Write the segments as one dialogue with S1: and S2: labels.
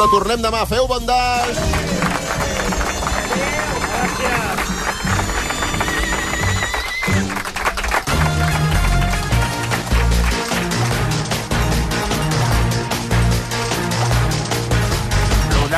S1: Tornem demà, feu bandars!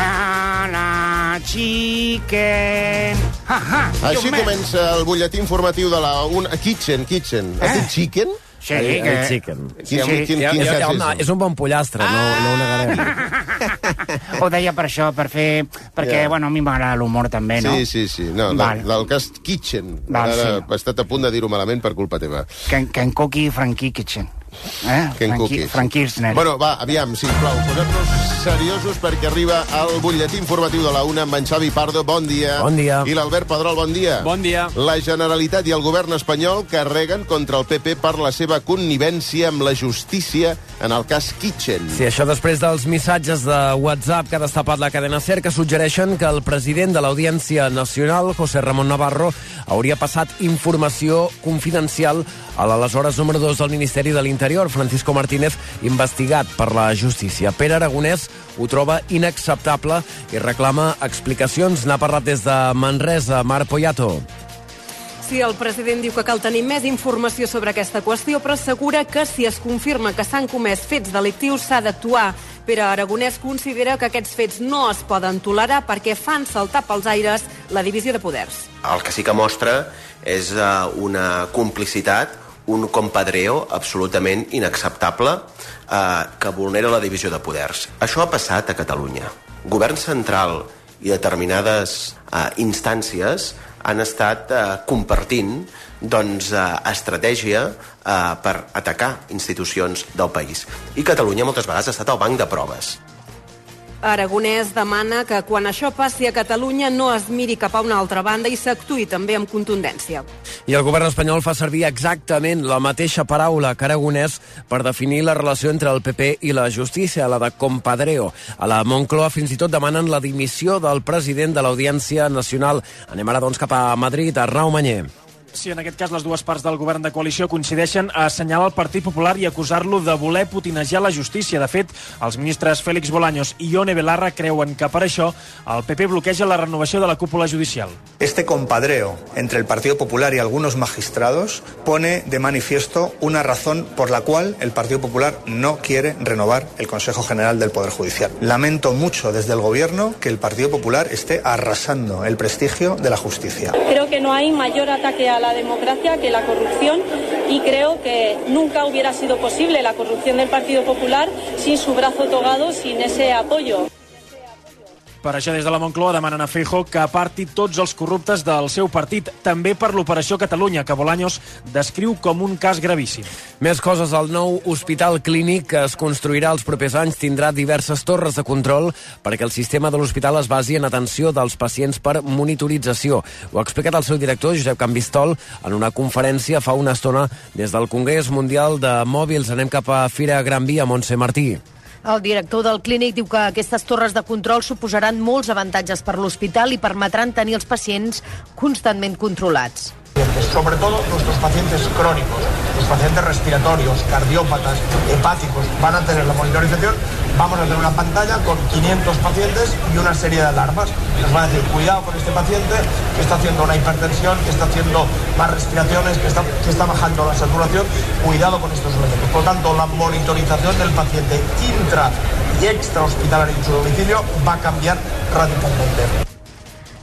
S2: Rodana Chicken. Ha, ha.
S1: Així
S2: Dios meu.
S1: comença el butlletí informatiu de la una... Kitchen, Kitchen. Has dit chicken?
S2: Eh. Sí,
S3: El,
S2: que...
S3: el chicken.
S1: Quin,
S2: Sí, Ah!
S1: quin, quin,
S3: Ja,
S1: quin
S3: ja, ja,
S1: saps
S3: home,
S1: és?
S3: és un bon pollastre, no, no ho negarem.
S2: Ho deia per això, per fer... Perquè,
S1: Ja.
S2: bueno, a mi m'agrada l'humor també, no?
S1: Sí, sí, sí. No,
S2: Vale.
S1: del, del cas Kitchen.
S2: Val,
S1: Ara
S2: sí.
S1: he estat a punt de dir-ho malament per culpa teva.
S2: Can, can Cookie i Frankie Kitchen. Eh?
S1: Ken
S2: Frankie,
S1: Cookie.
S2: Frank Kirchner.
S1: Bueno, va, aviam, sisplau, posem-nos seriosos perquè arriba el butlletí informatiu de la UNA amb en Xavi Pardo. Bon dia.
S3: Bon dia.
S1: I l'Albert Pedrol, bon dia.
S4: Bon dia.
S1: La Generalitat i el govern espanyol carreguen contra el PP per la seva connivència amb la justícia en el cas Kitchen.
S3: Sí, això després dels missatges de WhatsApp que ha destapat la cadena SER que suggereixen que el president de l'Audiència Nacional, José Ramon Navarro, hauria passat informació confidencial a l'aleshores número 2 del Ministeri de l'Interior, Francisco Martínez, investigat per la justícia. Pere Aragonès ho troba inacceptable i reclama explicacions. N'ha parlat des de Manresa, Mar Poyato.
S5: Sí, el president diu que cal tenir més informació sobre aquesta qüestió, però assegura que si es confirma que s'han comès fets delictius s'ha d'actuar. Pere Aragonès considera que aquests fets no es poden tolerar perquè fan saltar pels aires la divisió de poders.
S6: El que sí que mostra és eh, una complicitat, un compadreo absolutament inacceptable eh, que vulnera la divisió de poders. Això ha passat a Catalunya. Govern central i determinades eh, instàncies han estat eh, compartint doncs, eh, estratègia eh, per atacar institucions del país. I Catalunya moltes vegades ha estat el banc de proves.
S5: Aragonès demana que quan això passi a Catalunya no es miri cap a una altra banda i s'actuï també amb contundència.
S3: I el govern espanyol fa servir exactament la mateixa paraula que Aragonès per definir la relació entre el PP i la justícia, la de compadreo. A la Moncloa fins i tot demanen la dimissió del president de l'Audiència Nacional. Anem ara, doncs, cap a Madrid, Arnau Manyer.
S7: Si en aquest cas les dues parts del govern de coalició coincideixen a assenyalar el Partit Popular i acusar-lo de voler putinejar la justícia. De fet, els ministres Félix Bolaños i Ione Belarra creuen que per això el PP bloqueja la renovació de la cúpula judicial.
S8: Este compadreo entre el Partido Popular y algunos magistrados pone de manifiesto una razón por la cual el Partido Popular no quiere renovar el Consejo General del Poder Judicial. Lamento mucho desde el Gobierno que el Partido Popular esté arrasando el prestigio de la justicia.
S9: Creo que no hay mayor ataque a la democracia que la corrupción y creo que nunca hubiera sido posible la corrupción del Partido Popular sin su brazo togado, sin ese apoyo.
S7: Per això des de la Moncloa demanen a Feijóo que aparti tots els corruptes del seu partit, també per l'operació Catalunya, que Bolaños descriu com un cas gravíssim.
S3: Més coses, el nou hospital clínic que es construirà els propers anys tindrà diverses torres de control perquè el sistema de l'hospital es basi en atenció dels pacients per monitorització. Ho ha explicat el seu director, Josep Canvistol, en una conferència fa una estona des del Congrés Mundial de Mòbils. Anem cap a Fira Gran Via, Montse Martí.
S10: El director del clínic diu que aquestes torres de control suposaran molts avantatges per l'hospital i permetran tenir els pacients constantment controlats.
S8: Sobre todo nuestros pacientes crónicos, los pacientes respiratorios, cardiópatas, hepáticos, van a tener la monitorización. Vamos a tener una pantalla con 500 pacientes y una serie de alarmas. Nos van a decir, cuidado con este paciente, que está haciendo una hipertensión, que está haciendo más respiraciones, que está, que está bajando la saturación. Cuidado con estos elementos. Por lo tanto, la monitorización del paciente intra y extra hospitalario en su domicilio va a cambiar radicalmente.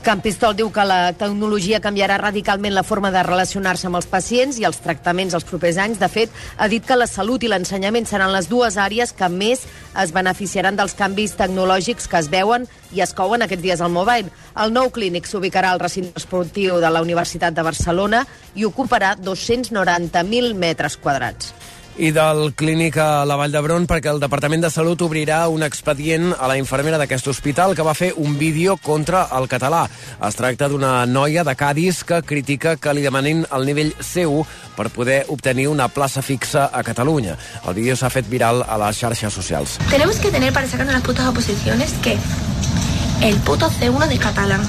S10: Campistol diu que la tecnologia canviarà radicalment la forma de relacionar-se amb els pacients i els tractaments els propers anys. De fet, ha dit que la salut i l'ensenyament seran les dues àrees que més es beneficiaran dels canvis tecnològics que es veuen i es couen aquests dies al Mobile. El nou clínic s'ubicarà al recinte esportiu de la Universitat de Barcelona i ocuparà 290.000 metres quadrats.
S3: I del clínic a la Vall d'Hebron perquè el Departament de Salut obrirà un expedient a la infermera d'aquest hospital que va fer un vídeo contra el català. Es tracta d'una noia de Cádiz que critica que li demanin el nivell C1 per poder obtenir una plaça fixa a Catalunya. El vídeo s'ha fet viral a les xarxes socials.
S9: Tenemos que tener para sacar las putas oposiciones que el puto C1 de catalán.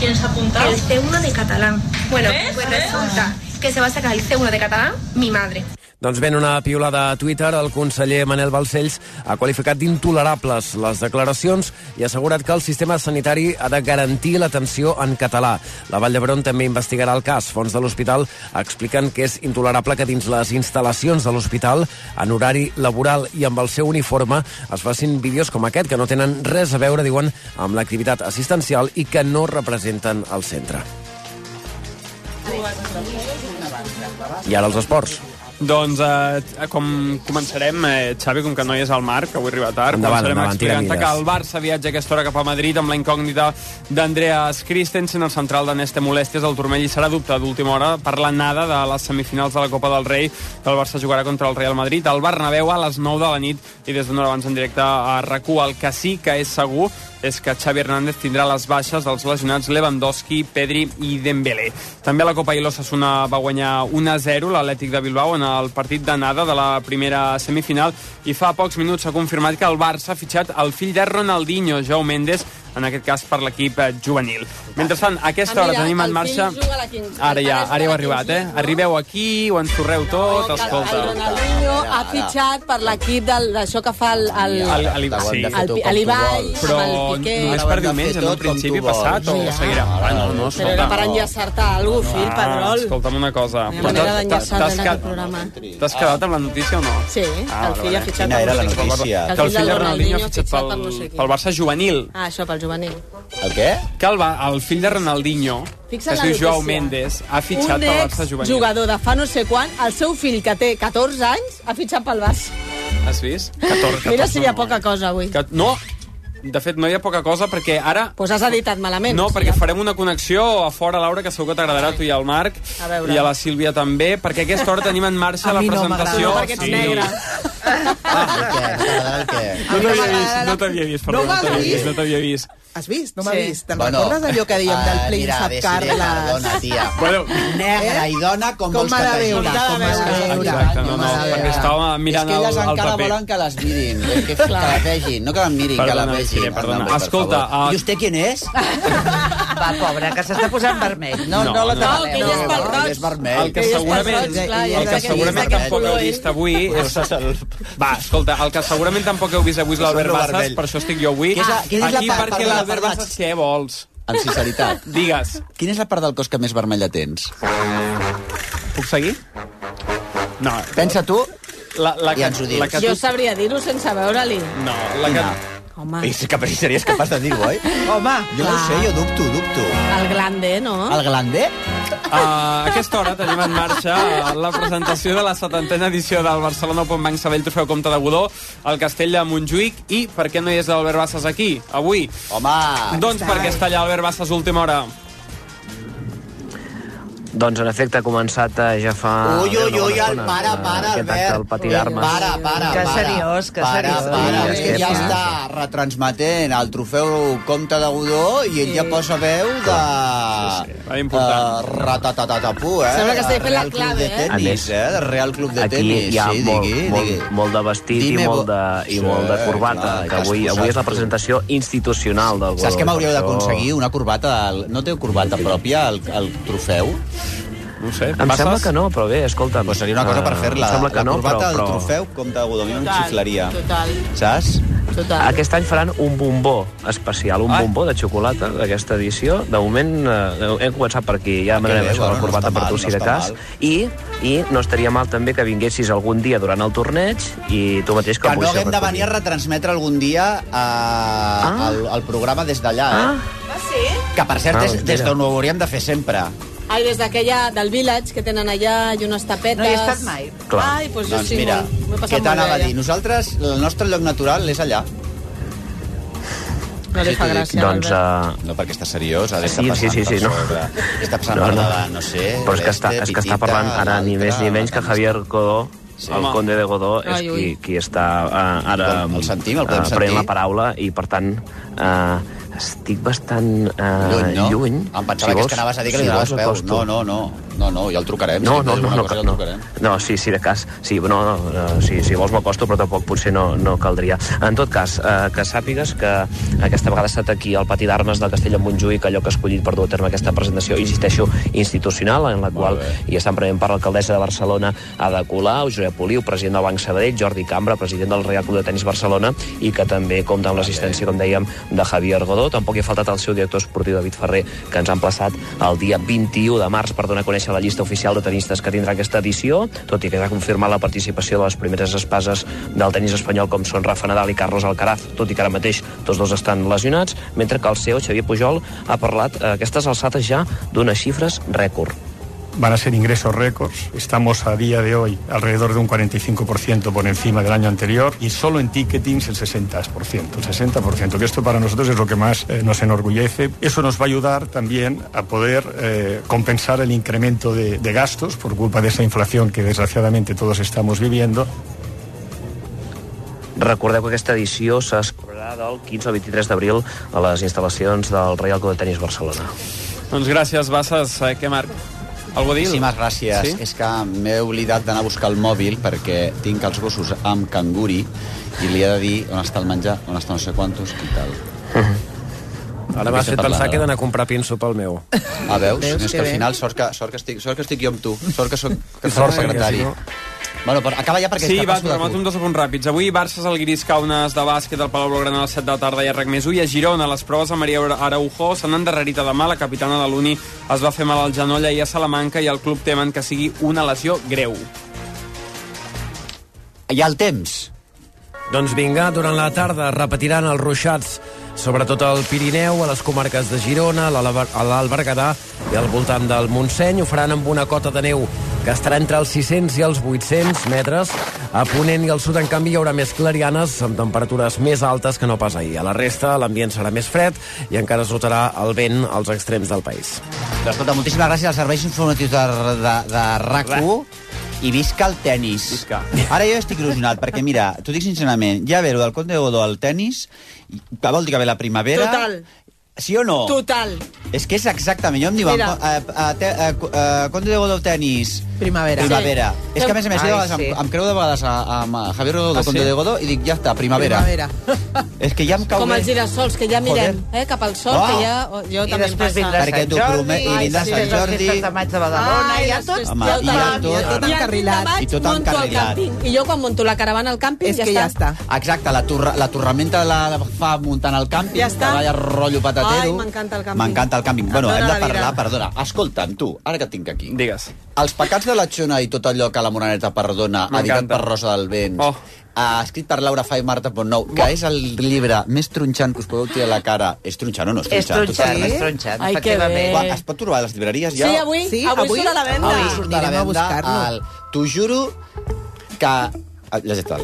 S5: ¿Quieres apuntar?
S9: El C1 de catalán. Bueno, pues resulta que se va a sacar el C1 de catalán mi madre.
S11: Doncs ben una piulada a Twitter, el conseller Manel Balcells ha qualificat d'intolerables les declaracions i ha assegurat que el sistema sanitari ha de garantir l'atenció en català. La Vall d'Hebron també investigarà el cas. Fons de l'hospital expliquen que és intolerable que dins les instal·lacions de l'hospital, en horari laboral i amb el seu uniforme, es facin vídeos com aquest, que no tenen res a veure, diuen, amb l'activitat assistencial i que no representen el centre. I ara els esports.
S4: Doncs eh, com començarem, eh, Xavi, com que no hi és al Marc, que avui arriba tard,
S11: Endavant,
S4: començarem
S11: endavant, tira
S4: explicant-te que
S11: milles.
S4: el Barça viatja a aquesta hora cap a Madrid amb la incògnita d'Andreas Christensen, el central de Neste Molèsties, el turmell i serà dubte d'última hora per la nada de les semifinals de la Copa del Rei que el Barça jugarà contra el Real Madrid al Bernabéu a les 9 de la nit i des d'una hora abans en directe a RAC1. El que sí que és segur és que Xavi Hernández tindrà les baixes dels lesionats Lewandowski, Pedri i Dembélé. També a la Copa Ilo Sassuna va guanyar 1-0 l'Atlètic de Bilbao en el partit d'anada de la primera semifinal i fa pocs minuts s'ha confirmat que el Barça ha fitxat el fill de Ronaldinho, Jou Méndez, en aquest cas per l'equip eh, juvenil. Mentrestant, a aquesta hora
S12: Ah, Mira,
S4: tenim en
S12: el
S4: marxa...
S12: fill juga a la Kings-
S4: Ara ja,
S12: el pare
S4: ara
S12: juga a
S4: heu
S12: la
S4: arribat, eh?
S12: Kings League, no?
S4: Arribeu aquí, ho ensorreu tot,
S12: El
S4: escolta.
S12: Ronaldinho ha fitxat per l'equip del- d'això que fa el, el,
S4: El- el- sí.
S12: el, el, l'Ibai,
S4: Però
S12: amb el Piqué...
S4: només per diumenge, no? En principi passat, o seguirà? Ah, no, no,
S12: Però era per
S4: escolta.
S12: enllaçar-te a algú, fill, Pedrol.
S4: Escolta'm una cosa.
S12: Una manera
S4: T'has-
S12: d'enllaçar-te
S4: t'has
S12: en
S4: ca-
S12: aquest programa.
S4: T'has quedat amb la notícia o no?
S12: Sí, el fill ha fitxat
S13: Ah, Quina
S12: per
S13: era la
S12: no sé qui.
S13: notícia?
S4: Que el fill de Ronaldinho ha fitxat
S12: per no sé
S4: pel,
S12: qui.
S4: pel Barça juvenil.
S12: Ah, això, pel juvenil.
S13: El què?
S4: Que el, va- el fill de Ronaldinho,
S12: Fixa't
S4: que es
S12: la
S4: diu
S12: notícia.
S4: Joao Méndez, ha fitxat
S12: un
S4: pel Barça juvenil.
S12: jugador de fa no sé quan, el seu fill, que té 14 anys, ha fitxat pel Barça.
S4: Has vist? 14,
S12: Mira si hi ha
S4: 14,
S12: poca cosa avui.
S4: Que, no, de fet, no hi ha poca cosa, perquè ara...
S12: Pues has editat malament.
S4: No, perquè farem una connexió a fora, Laura, que segur que t'agradarà a tu i al Marc,
S12: A veure.
S4: i a la Sílvia també, perquè a aquesta hora tenim en marxa
S3: A
S4: la
S3: mi no m'agrada.
S4: presentació...
S12: No, perquè ets negre.
S13: Ah, el què? T'agradarà el què?
S4: No t'havia vist, no t'havia vist, perdó, no t'havia vist, no t'havia vist.
S14: Has vist? No m'ha
S12: Sí.
S14: vist. Te'n recordes allò que dèiem del
S13: ah, mira,
S14: príncep
S13: de Sirena,
S14: Carles? Eh?
S13: Dona, tia.
S4: Bueno,
S13: Negra i dona com,
S14: Com
S13: vols
S14: m'ha
S13: que
S14: de
S13: t'ajudi.
S14: veure, com m'ha de veure.
S4: Exacte, no,
S13: Com
S4: no,
S13: m'ha de
S4: perquè
S13: veure.
S4: estava mirant
S13: És que elles
S4: Ah, el- el
S13: encara
S4: paper.
S13: volen que les mirin, és que, que la vegin, no que la mirin, que la
S4: Perdona,
S13: vegin.
S4: Sirena, perdona.
S13: Home, per
S4: Escolta,
S13: favor.
S4: ah,
S13: I vostè qui és?
S14: Va, pobra, que s'està posant vermell. No,
S4: No,
S14: no, la
S4: no.
S14: tabaleu.
S12: No, que ella és pel roig.
S13: Ell és vermell.
S4: el que segurament,
S14: roig, clar, ja
S4: el
S14: sé
S4: que
S14: que
S4: segurament
S13: és d'aquest
S4: tampoc heu
S12: color,
S4: vist avui és... Va, escolta, el que segurament tampoc heu vist avui és l'Albert
S13: Són lo
S4: Bassas,
S13: vermell.
S4: per això estic jo avui.
S13: Què és la- què és la
S4: Aquí
S13: part-
S4: perquè
S13: perdona,
S4: l'Albert
S13: perdona.
S4: Bassas, què vols?
S13: Amb sinceritat.
S4: Digues,
S13: Quina és la part del cos que més vermella tens?
S4: puc seguir? No,
S13: Pensa tu?
S4: la, la,
S13: Ja
S4: que,
S13: ens ho dius.
S4: la que
S12: Jo
S4: tu...
S12: sabria dir-ho sense veure-li.
S4: No, la que...
S12: Home,
S13: I sí que series capaç de dir-ho, oi?
S14: Home,
S13: Jo no ho sé, jo dubto, dubto.
S12: el glande, no?
S13: El glandé?
S4: A aquesta hora tenim en marxa la presentació de la setantena edició del Barcelona Open Bank Sabell Trofeu Comte de Godó, al Castell de Montjuïc, i per què no hi és l'Albert Bassas aquí, avui?
S13: Home,
S4: Doncs perquè està allà Albert Bassas a última hora.
S11: Doncs, en efecte, ha començat eh, ja fa...
S13: Ui, ui,
S11: una bona
S13: ui, el
S11: estona,
S13: para,
S11: eh,
S13: para,
S11: aquest acte
S13: Albert.
S11: al pati
S13: Ui,
S11: d'armes.
S13: Para, para,
S14: Que
S13: para.
S14: seriós, que
S13: para,
S14: seriós.
S13: Para,
S14: Sí,
S13: és que ja
S11: Esteve.
S13: està retransmetent el trofeu Comte de Godó i ell ja posa veu de...
S4: va, Ah, important.
S13: Eh, ratatatatapú, eh?
S12: Sembla que estigui fent la
S13: Real Club
S12: clave,
S13: de
S12: eh?
S11: A
S13: Tenis,
S11: més,
S13: eh? De Real Club de
S11: Aquí
S13: Tenis.
S11: hi ha
S13: sí,
S11: molt,
S13: digui,
S11: molt,
S13: digui.
S11: molt de vestit
S13: Dime
S11: i
S13: vo-
S11: molt de, i
S13: Sí,
S11: molt de corbata,
S13: clar,
S11: que avui,
S13: t'has
S11: avui és la
S13: posat tu.
S11: presentació institucional del Godó.
S13: Saps què m'hauríeu
S11: per això-
S13: d'aconseguir? Una corbata... del- No té corbata pròpia, el, el trofeu?
S4: No ho sé,
S11: Em sembla que no, però bé, escolta'm.
S13: Pues seria una cosa per
S11: eh,
S13: fer-la.
S11: em sembla
S13: La
S11: que no,
S13: corbata
S11: però,
S13: del
S11: però...
S13: trofeu Comte de Godó. A mi em xiflaria.
S12: Total,
S13: Saps?
S12: total.
S11: Aquest any faran un bombó especial, un
S4: Ai.
S11: bombó de xocolata d'aquesta edició. De moment eh, hem començat per aquí, ja demanarem
S13: Ah,
S11: això
S13: bé,
S11: de la
S13: bueno, no
S11: corbata
S13: està
S11: per
S13: mal,
S11: tu,
S13: no
S11: si de
S13: està
S11: cas.
S13: mal.
S11: I, I no estaria mal també que vinguessis algun dia durant el torneig i tu mateix que
S13: Que no
S11: puguis
S13: haguem de venir
S11: recollir.
S13: a retransmetre algun dia eh, el, el programa des d'allà, eh?
S11: Ah,
S12: Ah, sí?
S13: Que, per cert,
S11: Ah,
S13: és
S11: mira.
S13: des d'on ho hauríem de fer sempre.
S12: Ai, des d'aquella del Village, que tenen allà, i unes tapetes...
S14: No hi he estat mai.
S11: Clar.
S12: Ai, doncs jo
S13: doncs
S12: sí,
S13: mira,
S12: molt- m'ho he
S13: què
S12: passat molt
S13: t'anava a
S12: bé.
S13: dir?
S12: allà.
S13: Nosaltres, el nostre lloc natural és allà.
S12: No li
S13: Sí,
S12: fa
S13: t'ho dic.
S12: gràcia,
S11: doncs...
S12: l'Albert.
S11: Uh,
S13: No, perquè està seriós, ha d'estar
S11: Sí,
S13: passant
S11: sí, sí, sí,
S13: per
S11: no.
S13: sobre. Està passant
S11: No,
S13: per
S11: no.
S13: la, no sé...
S11: però és que, està,
S13: l'Este,
S11: és que està
S13: Pitita,
S11: parlant ara ni més ni
S13: l'altre,
S11: menys que Javier Godó,
S13: Sí.
S11: el conde de Godó, és
S12: Ai,
S11: qui,
S12: ui.
S11: qui està eh, ara
S13: El- el sentim, el podem
S11: eh, prenent la
S13: sentir?
S11: paraula i, per tant, eh, estic bastant eh,
S13: Lluny, no?
S11: lluny.
S13: Em pensava que és que anaves a dir que li donaves
S11: vols,
S13: peus.
S11: acosto.
S13: No, no, no. No, no, ja el trucarem.
S11: No, no,
S13: Si hem de
S11: no,
S13: dir
S11: no,
S13: alguna cosa,
S11: no,
S13: ja el trucarem.
S11: no, sí, sí, de cas. Sí, no, no, no, sí, si vols m'acosto, però tampoc potser no, no caldria. En tot cas, eh, que sàpigues que aquesta vegada ha estat aquí al Pati d'Armes del Castell de Montjuïc, allò que ha escollit per dur a terme aquesta presentació, insisteixo, institucional, en la qual hi estan prenent part l'alcaldessa de Barcelona, Ada Colau, Josep Poliu, president del Banc Sabadell, Jordi Cambra, president del Real Club de Tenis Barcelona, i que també compta amb l'assistència, com dèiem, de Javier Godó. Tampoc hi ha faltat el seu director esportiu, David Ferrer, que ens ha emplaçat el dia 21 de març per donar a conèixer la llista oficial de tenistes que tindrà aquesta edició, tot i que va confirmar la participació de les primeres espases del tenis espanyol com són Rafa Nadal i Carlos Alcaraz, tot i que ara mateix tots dos estan lesionats, mentre que el CEO, Xavier Pujol, ha parlat a aquestes alçades ja d'unes xifres rècord.
S15: van a ser ingresos récords. Estamos a día de hoy alrededor de un 45% por encima del año anterior y solo en ticketing el 60%, el 60%, que esto para nosotros es lo que más eh, nos enorgullece. Eso nos va a ayudar también a poder eh, compensar el incremento de, de gastos por culpa de esa inflación que desgraciadamente todos estamos viviendo.
S11: Recordeu que aquesta edició se celebrarà del 15 al 23 d'abril a les instal·lacions del Real Club de Tenis Barcelona.
S4: Doncs gràcies, Bassas. Eh, què, Marc? Algú a dir?
S13: Moltíssimes gràcies. Sí?
S4: Sí?
S13: És que m'he oblidat d'anar a buscar el mòbil perquè tinc els gossos amb canguri i li he de dir on està el menjar, on està no sé quantos i tal.
S3: Ara m'has fet pensar que he d'anar a comprar pinso pel meu.
S13: A Ah, veus?
S3: Veus
S13: veus és
S3: que
S13: que al
S3: bé.
S13: final sort que, sort que, estic, sort que estic jo amb tu. Sort que soc que
S3: Sort
S13: sort
S3: que
S13: secretari.
S3: si
S13: no...
S3: no-
S13: Bueno, però acaba ja perquè
S4: Sí,
S13: és que
S4: va,
S13: passo de
S4: programat un dos punts ràpids. Avui, Barça és el gris caunes de bàsquet al Palau Blaugrana a les 7 de la tarda i a RAC més u. I a Girona, les proves a Maria Araujo s'han endarrerit a demà. La capitana de l'Uni es va fer mal al genoll i a Salamanca i el club temen que sigui una lesió greu.
S13: Hi ha el temps.
S3: Doncs vinga, durant la tarda repetiran els ruixats sobretot al Pirineu, a les comarques de Girona, a l'Alber- a l'Albergadà i al voltant del Montseny. Ho faran amb una cota de neu que estarà entre els 600 i els 800 metres. A Ponent i al sud, en canvi, hi haurà més clarianes amb temperatures més altes que no pas ahir. A la resta, l'ambient serà més fred i encara sotarà el vent als extrems del país.
S13: Doncs Escolta, moltíssimes gràcies als serveis informatius de, de, de RAC1 i visca el tennis. Visca. Ara jo estic il·lusionat, perquè mira, t'ho dic sincerament, ja ve lo del Conde de Godó al tennis, que vol dir que ve la primavera...
S16: Total.
S13: Sí o no?
S16: Total.
S13: És que és exactament, jo em diuen...
S16: Mira.
S13: eh, eh, te- eh, co- eh, Conde de Godó tennis...
S16: Primavera.
S13: Primavera.
S16: Sí.
S13: És que a més a més, jo de
S16: Ai,
S13: vegades em,
S16: sí.
S13: em creu de vegades a, a, a Javier Rodó,
S16: Ah,
S13: ah, Conde
S16: sí?
S13: de Godó, i dic, ja està, primavera.
S16: Primavera.
S13: És que ja em cau
S12: Com
S13: bé.
S12: els girassols, que ja mirem eh, cap al sol,
S13: Uau.
S12: que ja... o- Jo
S14: I
S12: també em
S14: després
S12: passa.
S14: vindrà
S13: Perquè
S14: Sant
S13: t'ho
S14: Jordi,
S13: promet- i vindrà
S14: sí,
S13: Sant
S14: després les
S13: Jordi.
S14: festes de maig de Badalona,
S12: Ai,
S14: i ja
S12: les
S14: tot...
S13: Home,
S12: ja ho
S13: i ja
S12: tenim.
S13: tot-
S12: I el
S13: tot
S12: vint de
S13: encarrilat. I
S12: maig
S13: tot
S12: monto el
S13: encarrilat.
S12: càmping. I jo quan monto la caravana al càmping,
S13: És que ja Exacte, la, torra, la torramenta la fa muntant al càmping,
S12: Ja està.
S13: que vaya rotllo patatero.
S12: Ai, m'encanta el càmping.
S13: M'encanta el càmping. Bueno, hem
S12: Em dóna
S13: de
S12: la vida.
S13: parlar, perdona. Escolta'm, tu, ara que et tinc aquí.
S4: Digues.
S13: Els pecats de la Xona i tot allò que la Moraneta perdona, editat per Rosa del Vents, oh. eh, escrit per Laura Fai i Marta Pontnou, que és el llibre més tronxant que us podeu tirar a la cara. És tronxant o no? És
S14: És
S13: tronxant,
S14: tronxant,
S13: totalment.
S14: és tronxant, Ai, que efectivament. bé.
S13: Va, es pot trobar a les llibreries ja?
S12: Sí, avui- Sí, avui avui- surt a la venda.
S13: Avui surt a la
S14: Anirem
S13: venda.
S14: a buscar-lo.
S13: el- T'ho juro que... Ah, Llegeix-te'l.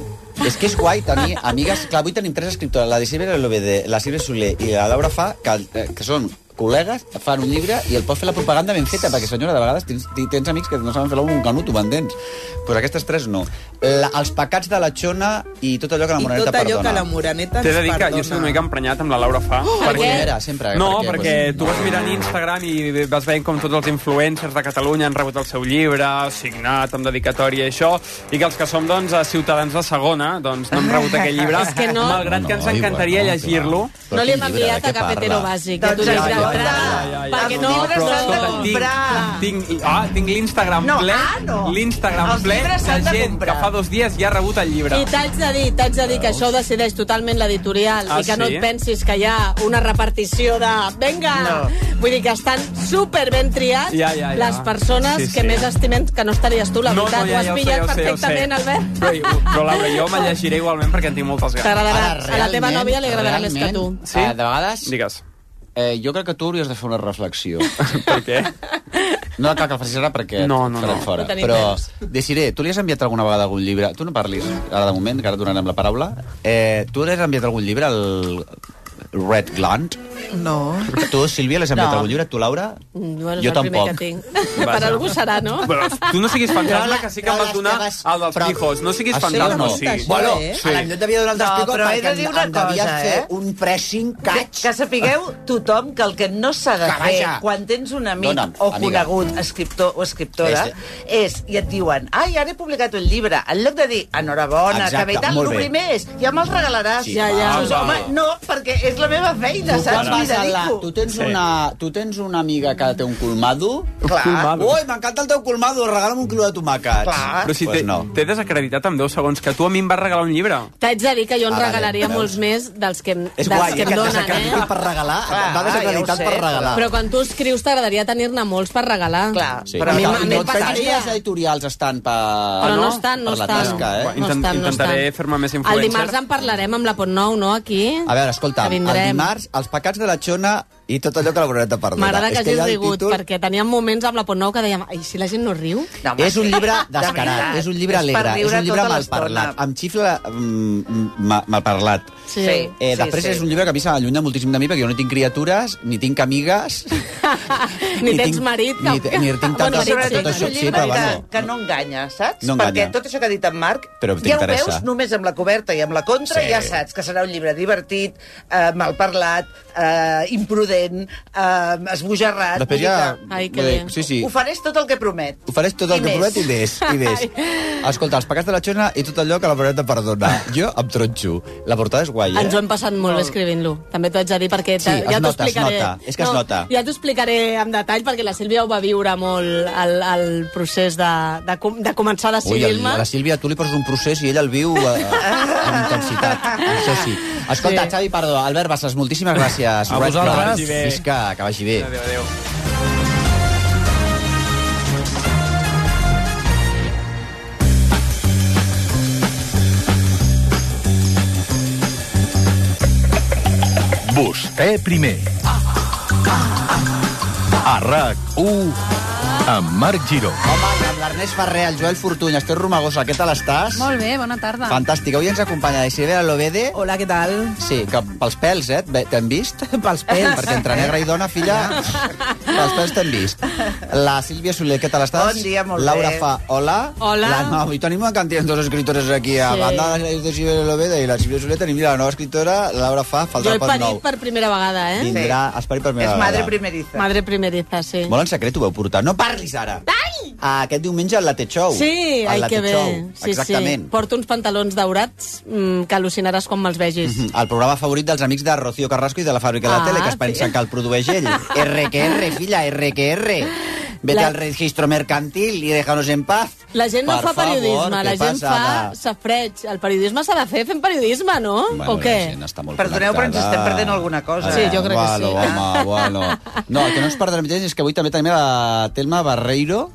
S13: És que és guai tenir amigues... Clar, avui tenim tres escriptores, la Silvia Lobede, la Silvia Soler i la Laura Fa, que, eh, que són col·legues, fan un llibre i el pots fer la propaganda ben feta, perquè, senyora, de vegades tens, ti- tens amics que no saben fer-lo amb un canut, ho vendents. Doncs pues aquestes tres no. La, els pecats de la Xona i tot allò que la
S16: I
S13: Moraneta
S16: tot allò
S13: perdona.
S16: que la Moraneta
S4: T'he
S16: ens
S4: de dir que jo estic una
S16: Doncs perdona.
S4: mica emprenyat amb la Laura Fa.
S16: Oh, per què? Era, sempre, doncs-
S4: No,
S16: per què?
S4: perquè tu vas mirant Instagram i vas veient com tots els influencers de Catalunya han rebut el seu llibre, signat, amb dedicatòria i això, i que els que som, doncs, ciutadans de segona, doncs, no hem rebut aquell llibre,
S12: És que no.
S4: malgrat que ens encantaria llegir-lo.
S12: No li hem enviat a Cafetero Bàsic. Doncs tu llibre, ja, Perquè no,
S4: però,
S12: però...
S4: escolta, Tinc, tinc, ah, tinc l'Instagram
S12: No,
S4: ple,
S12: ah, no.
S4: l'Instagram
S12: Els
S4: ple
S12: llibres
S4: de
S12: s'han de
S4: gent que fa dos dies ja ha rebut el llibre.
S12: I t'haig de dir, t'haig de dir que això ho decideix totalment l'editorial
S4: Ah,
S12: i que no
S4: sí?
S12: et pensis que hi ha una repartició de... Vinga! No. Vull dir que estan super ben triats
S4: Ja, ja, ja.
S12: les persones
S4: Sí, sí.
S12: que més estimen que no estaries tu, la
S4: No,
S12: veritat.
S4: no, ja,
S12: ho has
S4: ja ho sé,
S12: pillat
S4: ja ho sé, ja ho sé.
S12: perfectament, Albert.
S4: Però, però Laura, jo me llegiré igualment perquè en tinc moltes ganes.
S12: T'agradarà. A la teva nòvia li agradarà més que tu.
S13: Sí? Eh, de vegades...
S4: Digues.
S13: Eh, jo crec que tu hauries de fer una reflexió.
S4: per què?
S13: No cal que la facis ara perquè
S4: No, no,
S13: et faran
S4: no.
S13: fora.
S4: No tenim
S13: Però,
S4: temps.
S13: Desiré, tu li has enviat alguna vegada algun llibre... Tu no parlis ara de moment, que ara et donarem la paraula. Eh, tu li has enviat algun llibre al Red Gland?
S14: No.
S13: Tu, Sílvia, l'has enviat no.
S12: No.
S13: algun llibre? Tu, Laura?
S12: Mm, Bueno, és
S13: Jo
S12: el primer
S13: tampoc.
S12: que tinc. per algú serà, no?
S4: Però tu no siguis fantasma,
S12: Però
S4: que sí que em vas donar el dels pijos. No siguis
S13: Ah, sí?
S4: fantasma,
S13: No.
S4: sí.
S13: Bueno, a la millor t'havia donat
S4: No,
S13: els pijos
S4: però he
S13: perquè
S4: de dir una
S13: em- em devies
S4: cosa,
S13: fer
S4: eh?
S13: un pressing
S14: Que, que sapigueu tothom que el que no s'ha de
S13: Que
S14: fer
S13: vaja.
S14: quan tens un amic
S13: Dóna'm,
S14: o
S13: amiga.
S14: conegut escriptor o escriptora
S13: Sí,
S14: és, i et diuen ai, ara he publicat un llibre, en lloc de dir enhorabona,
S13: Exacte,
S14: que bé i tal,
S13: molt
S14: el
S13: bé.
S14: primer és, ja me'l regalaràs
S13: Sí, Ja, ja.
S14: Dius,
S13: va,
S14: home,
S13: va.
S14: no, perquè és la meva feina, saps? M'hi dedico
S13: tu, tens una, tu tens una amiga que té un colmado?
S14: Clar.
S4: colmado.
S13: Ui, m'encanta el teu colmado, regala'm un quilo de tomàquets.
S4: Però si t'he
S13: pues no.
S4: t'he desacreditat en 10 segons, que tu a mi em vas regalar un llibre.
S12: T'haig de dir que jo en
S4: Ah, vale,
S12: regalaria
S4: veus?
S12: molts més dels que, em-
S4: És
S12: dels
S4: guai,
S12: que
S4: que
S12: em
S4: et
S12: donen, eh?
S4: desacreditin
S13: per regalar,
S4: et va desacreditar
S13: per regalar.
S12: Però quan tu escrius t'agradaria tenir-ne molts per regalar. Clar,
S13: Sí. Però
S12: a mi,
S13: no,
S12: m- a mi
S13: no
S12: em
S13: et pensis que
S12: passaria.
S13: les editorials estan per,
S12: Però no estan, no
S13: per la
S12: estan.
S13: tasca, eh?
S12: No Intent- estan, no
S4: intentaré estan. fer-me més
S12: El dimarts en parlarem amb la Pont Nou, no?, aquí.
S13: A veure, escolta,
S12: Que
S13: el
S12: vindrem.
S13: dimarts, els pecats de la xona i tot allò que la Bruneta perdona.
S12: M'agrada
S13: És
S12: que hagis
S13: ja el
S12: rigut,
S13: títol-
S12: perquè teníem moments amb la Pont Nou que dèiem ai, si la gent no riu...
S13: és un llibre descarat, és tota un llibre alegre, és un
S12: tota
S13: llibre malparlat. Em xifla mm, ma- malparlat.
S12: Sí.
S13: Eh,
S12: Sí,
S13: després
S12: sí.
S13: és un llibre que a mi se m'allunya moltíssim de mi, perquè jo no tinc criatures, ni tinc amigues...
S12: Ni
S13: Ni
S12: tens
S13: tinc-
S12: marit.
S13: ni
S12: cap-
S13: te- ni tinc
S12: Bueno,
S13: tantes-
S12: marit,
S13: tot
S12: sí.
S14: Sobretot és
S13: això,
S14: un
S13: sí,
S14: llibre
S13: però
S14: que,
S13: bueno.
S14: que no enganya, saps?
S13: No
S14: Perquè
S13: enganya.
S14: tot això que ha dit en Marc,
S13: Però
S14: ja ho
S13: t'interessa.
S14: veus només amb la coberta i amb la contra,
S13: Sí.
S14: sí. ja saps que serà un llibre divertit, eh, mal parlat, eh, imprudent, eh, esbojarrat.
S13: Després
S14: vull
S13: ja-
S14: dir
S13: Ai, que bé. bé. Sí, sí.
S14: Ofereix tot el que promet.
S13: Ofereix tot el
S14: I
S13: que
S14: més.
S13: promet i més, i més. Escolta, els pecats de la xona i tot allò que la Bruneta perdona. Jo em tronxo. La portada és guai, eh?
S12: Ens ho hem passat molt bé escrivint-lo. També t'ho haig de dir perquè
S13: Sí, es
S12: ja t'ho
S13: nota, es
S12: explicaré.
S13: nota. És que es nota.
S12: Ja t'ho explicaré en detall perquè la Sílvia ho va viure molt el, el procés de, de, com- de començar a
S13: Ui, el,
S12: decidir-me.
S13: a la Sílvia, tu li poses un procés i ella el viu eh, amb intensitat. Això sí. Escolta,
S12: Sí.
S13: Xavi, perdó, Albert Bassas, moltíssimes gràcies.
S3: A
S13: Red Flags.
S3: vosaltres. Que vagi bé.
S13: Visca, que vagi bé.
S4: Adéu, adéu.
S16: Vostè primer. A RAC1 amb Marc Giró.
S13: Home, i amb l'Ernest Ferrer, el Joel Fortuny, Esther Romagosa, què tal estàs?
S17: Molt bé, bona tarda.
S13: Fantàstic, avui ens acompanya Isabel Lobede.
S17: Hola, què tal?
S13: Sí, que pels pèls, eh? et ve- T'hem vist? Pels
S17: pèls.
S13: Perquè entre negra i dona, filla, pels pèls t'hem vist. La Sílvia Soler, què tal estàs?
S14: Bon dia, molt
S13: Laura
S14: bé.
S13: Fa, hola.
S14: Hola.
S13: La, no, avui tenim una cantidad de dos escritores aquí, a
S12: Sí.
S13: banda de la Isabel Lobede i la Sílvia Soler, tenim la nova escritora, la Laura Fa,
S12: Jo
S13: faltarà
S12: he
S13: per
S12: parit
S13: nou.
S12: per primera vegada, eh?
S13: Vindrà, has parit per primera vegada.
S14: primeriza.
S12: Madre primeriza, sí.
S13: Molt en secret ho veu portar. No parlis ara! Ai! Aquest diumenge al Late Show.
S12: Sí,
S13: Al
S12: ai,
S13: Late
S12: que bé.
S13: Show,
S12: Sí,
S13: Exactament.
S12: sí. Porto uns pantalons daurats mm, que al·lucinaràs quan me'ls vegis.
S13: Mhm, El programa favorit dels amics de Rocío Carrasco i de la Fàbrica de la
S12: Ah,
S13: Tele, que es pensen que el produeix ell. R que R, filla, R que R. Vete
S12: La-
S13: al registro mercantil i déjanos en paz.
S12: La gent no
S13: Per
S12: fa
S13: favor,
S12: periodisme, la
S13: què
S12: gent
S13: passa,
S12: fa
S13: va?
S12: safareig. El periodisme s'ha de fer fent periodisme, no?
S13: Bueno,
S12: o què?
S13: la gent està molt
S14: Perdoneu, però ens estem
S13: connectada.
S14: perdent alguna cosa. eh?
S12: Sí, jo crec que
S13: bueno,
S12: sí. eh?
S13: Home, bueno. No, el que no ens perdrem gens és que avui també tenim la Telma Barreiro,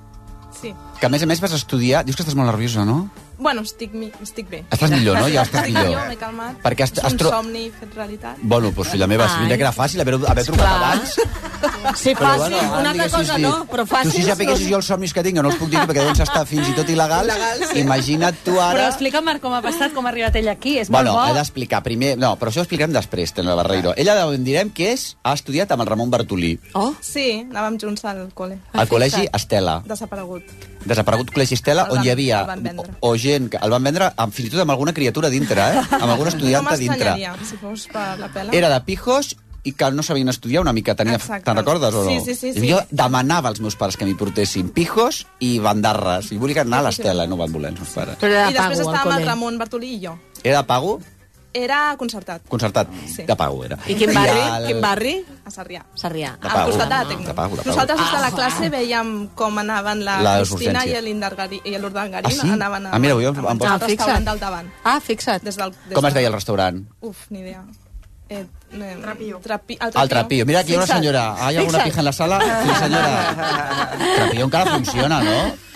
S18: Sí.
S13: que a més a més vas estudiar... Dius que estàs molt nerviosa, no?
S18: Bueno, estic, mi- estic bé.
S13: Estàs millor, no? Ja estàs
S18: estic
S13: millor.
S18: m'he calmat.
S13: Perquè has-
S18: És
S13: has
S18: un
S13: tro-
S18: somni fet realitat.
S13: Bueno, doncs, filla meva, si mira que era fàcil haver, haver trucat
S18: Clar.
S13: abans.
S12: Sí,
S13: Però,
S12: fàcil,
S13: bueno, ara
S12: una
S13: em
S12: altra
S13: diguessis
S12: cosa
S13: dir,
S12: no, però
S13: Tu
S12: fàcil...
S13: si sapiguessis jo els somnis que tinc, que no els puc dir perquè deuen estar fins i tot il·legals,
S17: Il·legals, sí.
S13: imagina't tu ara...
S17: Però explica, Marc, com ha passat, com ha arribat ell aquí. És
S13: Bueno, he
S17: molt bo.
S13: d'explicar primer... No, però això ho explicarem després, Tena Barreiro. Ella en direm que és, ha estudiat amb el Ramon Bartolí.
S18: Oh? Sí, anàvem junts al col·le.
S13: Al col·legi Estela.
S18: Desaparegut.
S13: Desaparegut Col·legi Estela,
S18: El
S13: on
S18: van-
S13: hi havia
S18: el van vendre.
S13: o gent que el van vendre amb, fins i tot amb alguna criatura dintre, eh? Amb algun estudiant
S18: no
S13: dintre.
S18: m'estranyaria, si fos per la pela.
S13: Era de pijos i que no sabien estudiar una mica. Tenia...
S18: Exacte.
S13: Te'n recordes o no?
S18: Sí, sí, sí, sí.
S13: Jo demanava als meus pares que m'hi portessin pijos i bandarres. I volia anar a l'Estela, no van voler els meus pares.
S18: I després estàvem
S13: col·le.
S18: el Ramon Bartolí i jo.
S13: Era de pago?
S18: Era concertat.
S13: Concertat.
S18: Sí.
S13: De pago era.
S18: I quin barri?
S13: al-
S18: Quin barri? A Sarrià.
S12: Sarrià.
S13: De
S18: Al
S13: pago.
S18: costat de la
S13: De
S18: Tecno.
S13: pago, de pago.
S18: Nosaltres des de la classe veiem com anaven la,
S13: La
S18: Cristina
S13: urgència.
S18: i l'Indargari- i l'Urdangarín.
S13: Ah, sí?
S18: Anaven a,
S13: Ah, mira, avui em- em
S18: a menjar
S13: poso-
S18: al
S13: Ah,
S18: restaurant
S13: fixa't.
S18: del davant.
S12: Ah, fixa't.
S18: Des del, des
S13: Com
S18: del-
S13: es deia el restaurant?
S18: Uf, ni idea. Eh, eh, trapillo. Trapi,
S13: El trapillo. Mira, aquí hi ha una
S18: Fixa't.
S13: senyora. Ah, hi ha alguna
S18: Fixa't.
S13: pija en la sala? Sí, senyora. El trapillo encara funciona, no?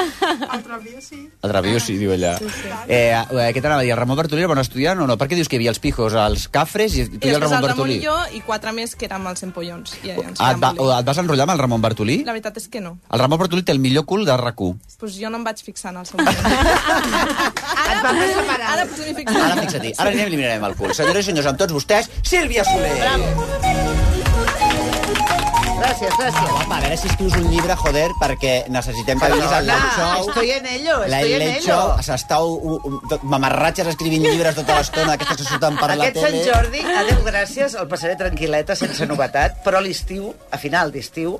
S13: El trapillo sí, diu ella.
S18: Sí, sí.
S13: Eh, eh, què t'anava a dir? El Ramon Bartolí era bon estudiant o no? Per què dius que hi havia els pijos, els cafres i tu
S18: I
S13: i
S18: després
S13: el Ramon
S18: el Ramon
S13: Bartolí?
S18: i jo i quatre més que érem els empollons. I ens
S13: Ah, et, va,
S18: quedàvem
S13: o et vas enrotllar amb el Ramon Bartolí?
S18: La veritat és que no.
S13: El Ramon Bartolí té el millor cul de rac
S18: Pues jo no em vaig fixar en el seu moment. ara, potser- ara potser m'hi fixaré.
S13: Ara fixa't-hi, ara anirem i li mirarem el cul. Senyores i senyors, amb tots vostès, Sílvia Soler! Bravo!
S14: Gràcies, gràcies.
S13: Guapa, a veure si escrius un llibre, joder, perquè necessitem que vinguis al Late
S14: Hola,
S13: Show.
S14: Ah, estoy en ello,
S13: La
S14: estoy en
S13: Late
S14: ello.
S13: Show s'estàu u- u- tot- mamarratxes escrivint llibres tota l'estona, aquestes que surten per la
S14: Aquest
S13: tele.
S14: Sant Jordi, adeu, gràcies, el passaré tranquil·leta, sense novetat, però a l'estiu, a final d'estiu,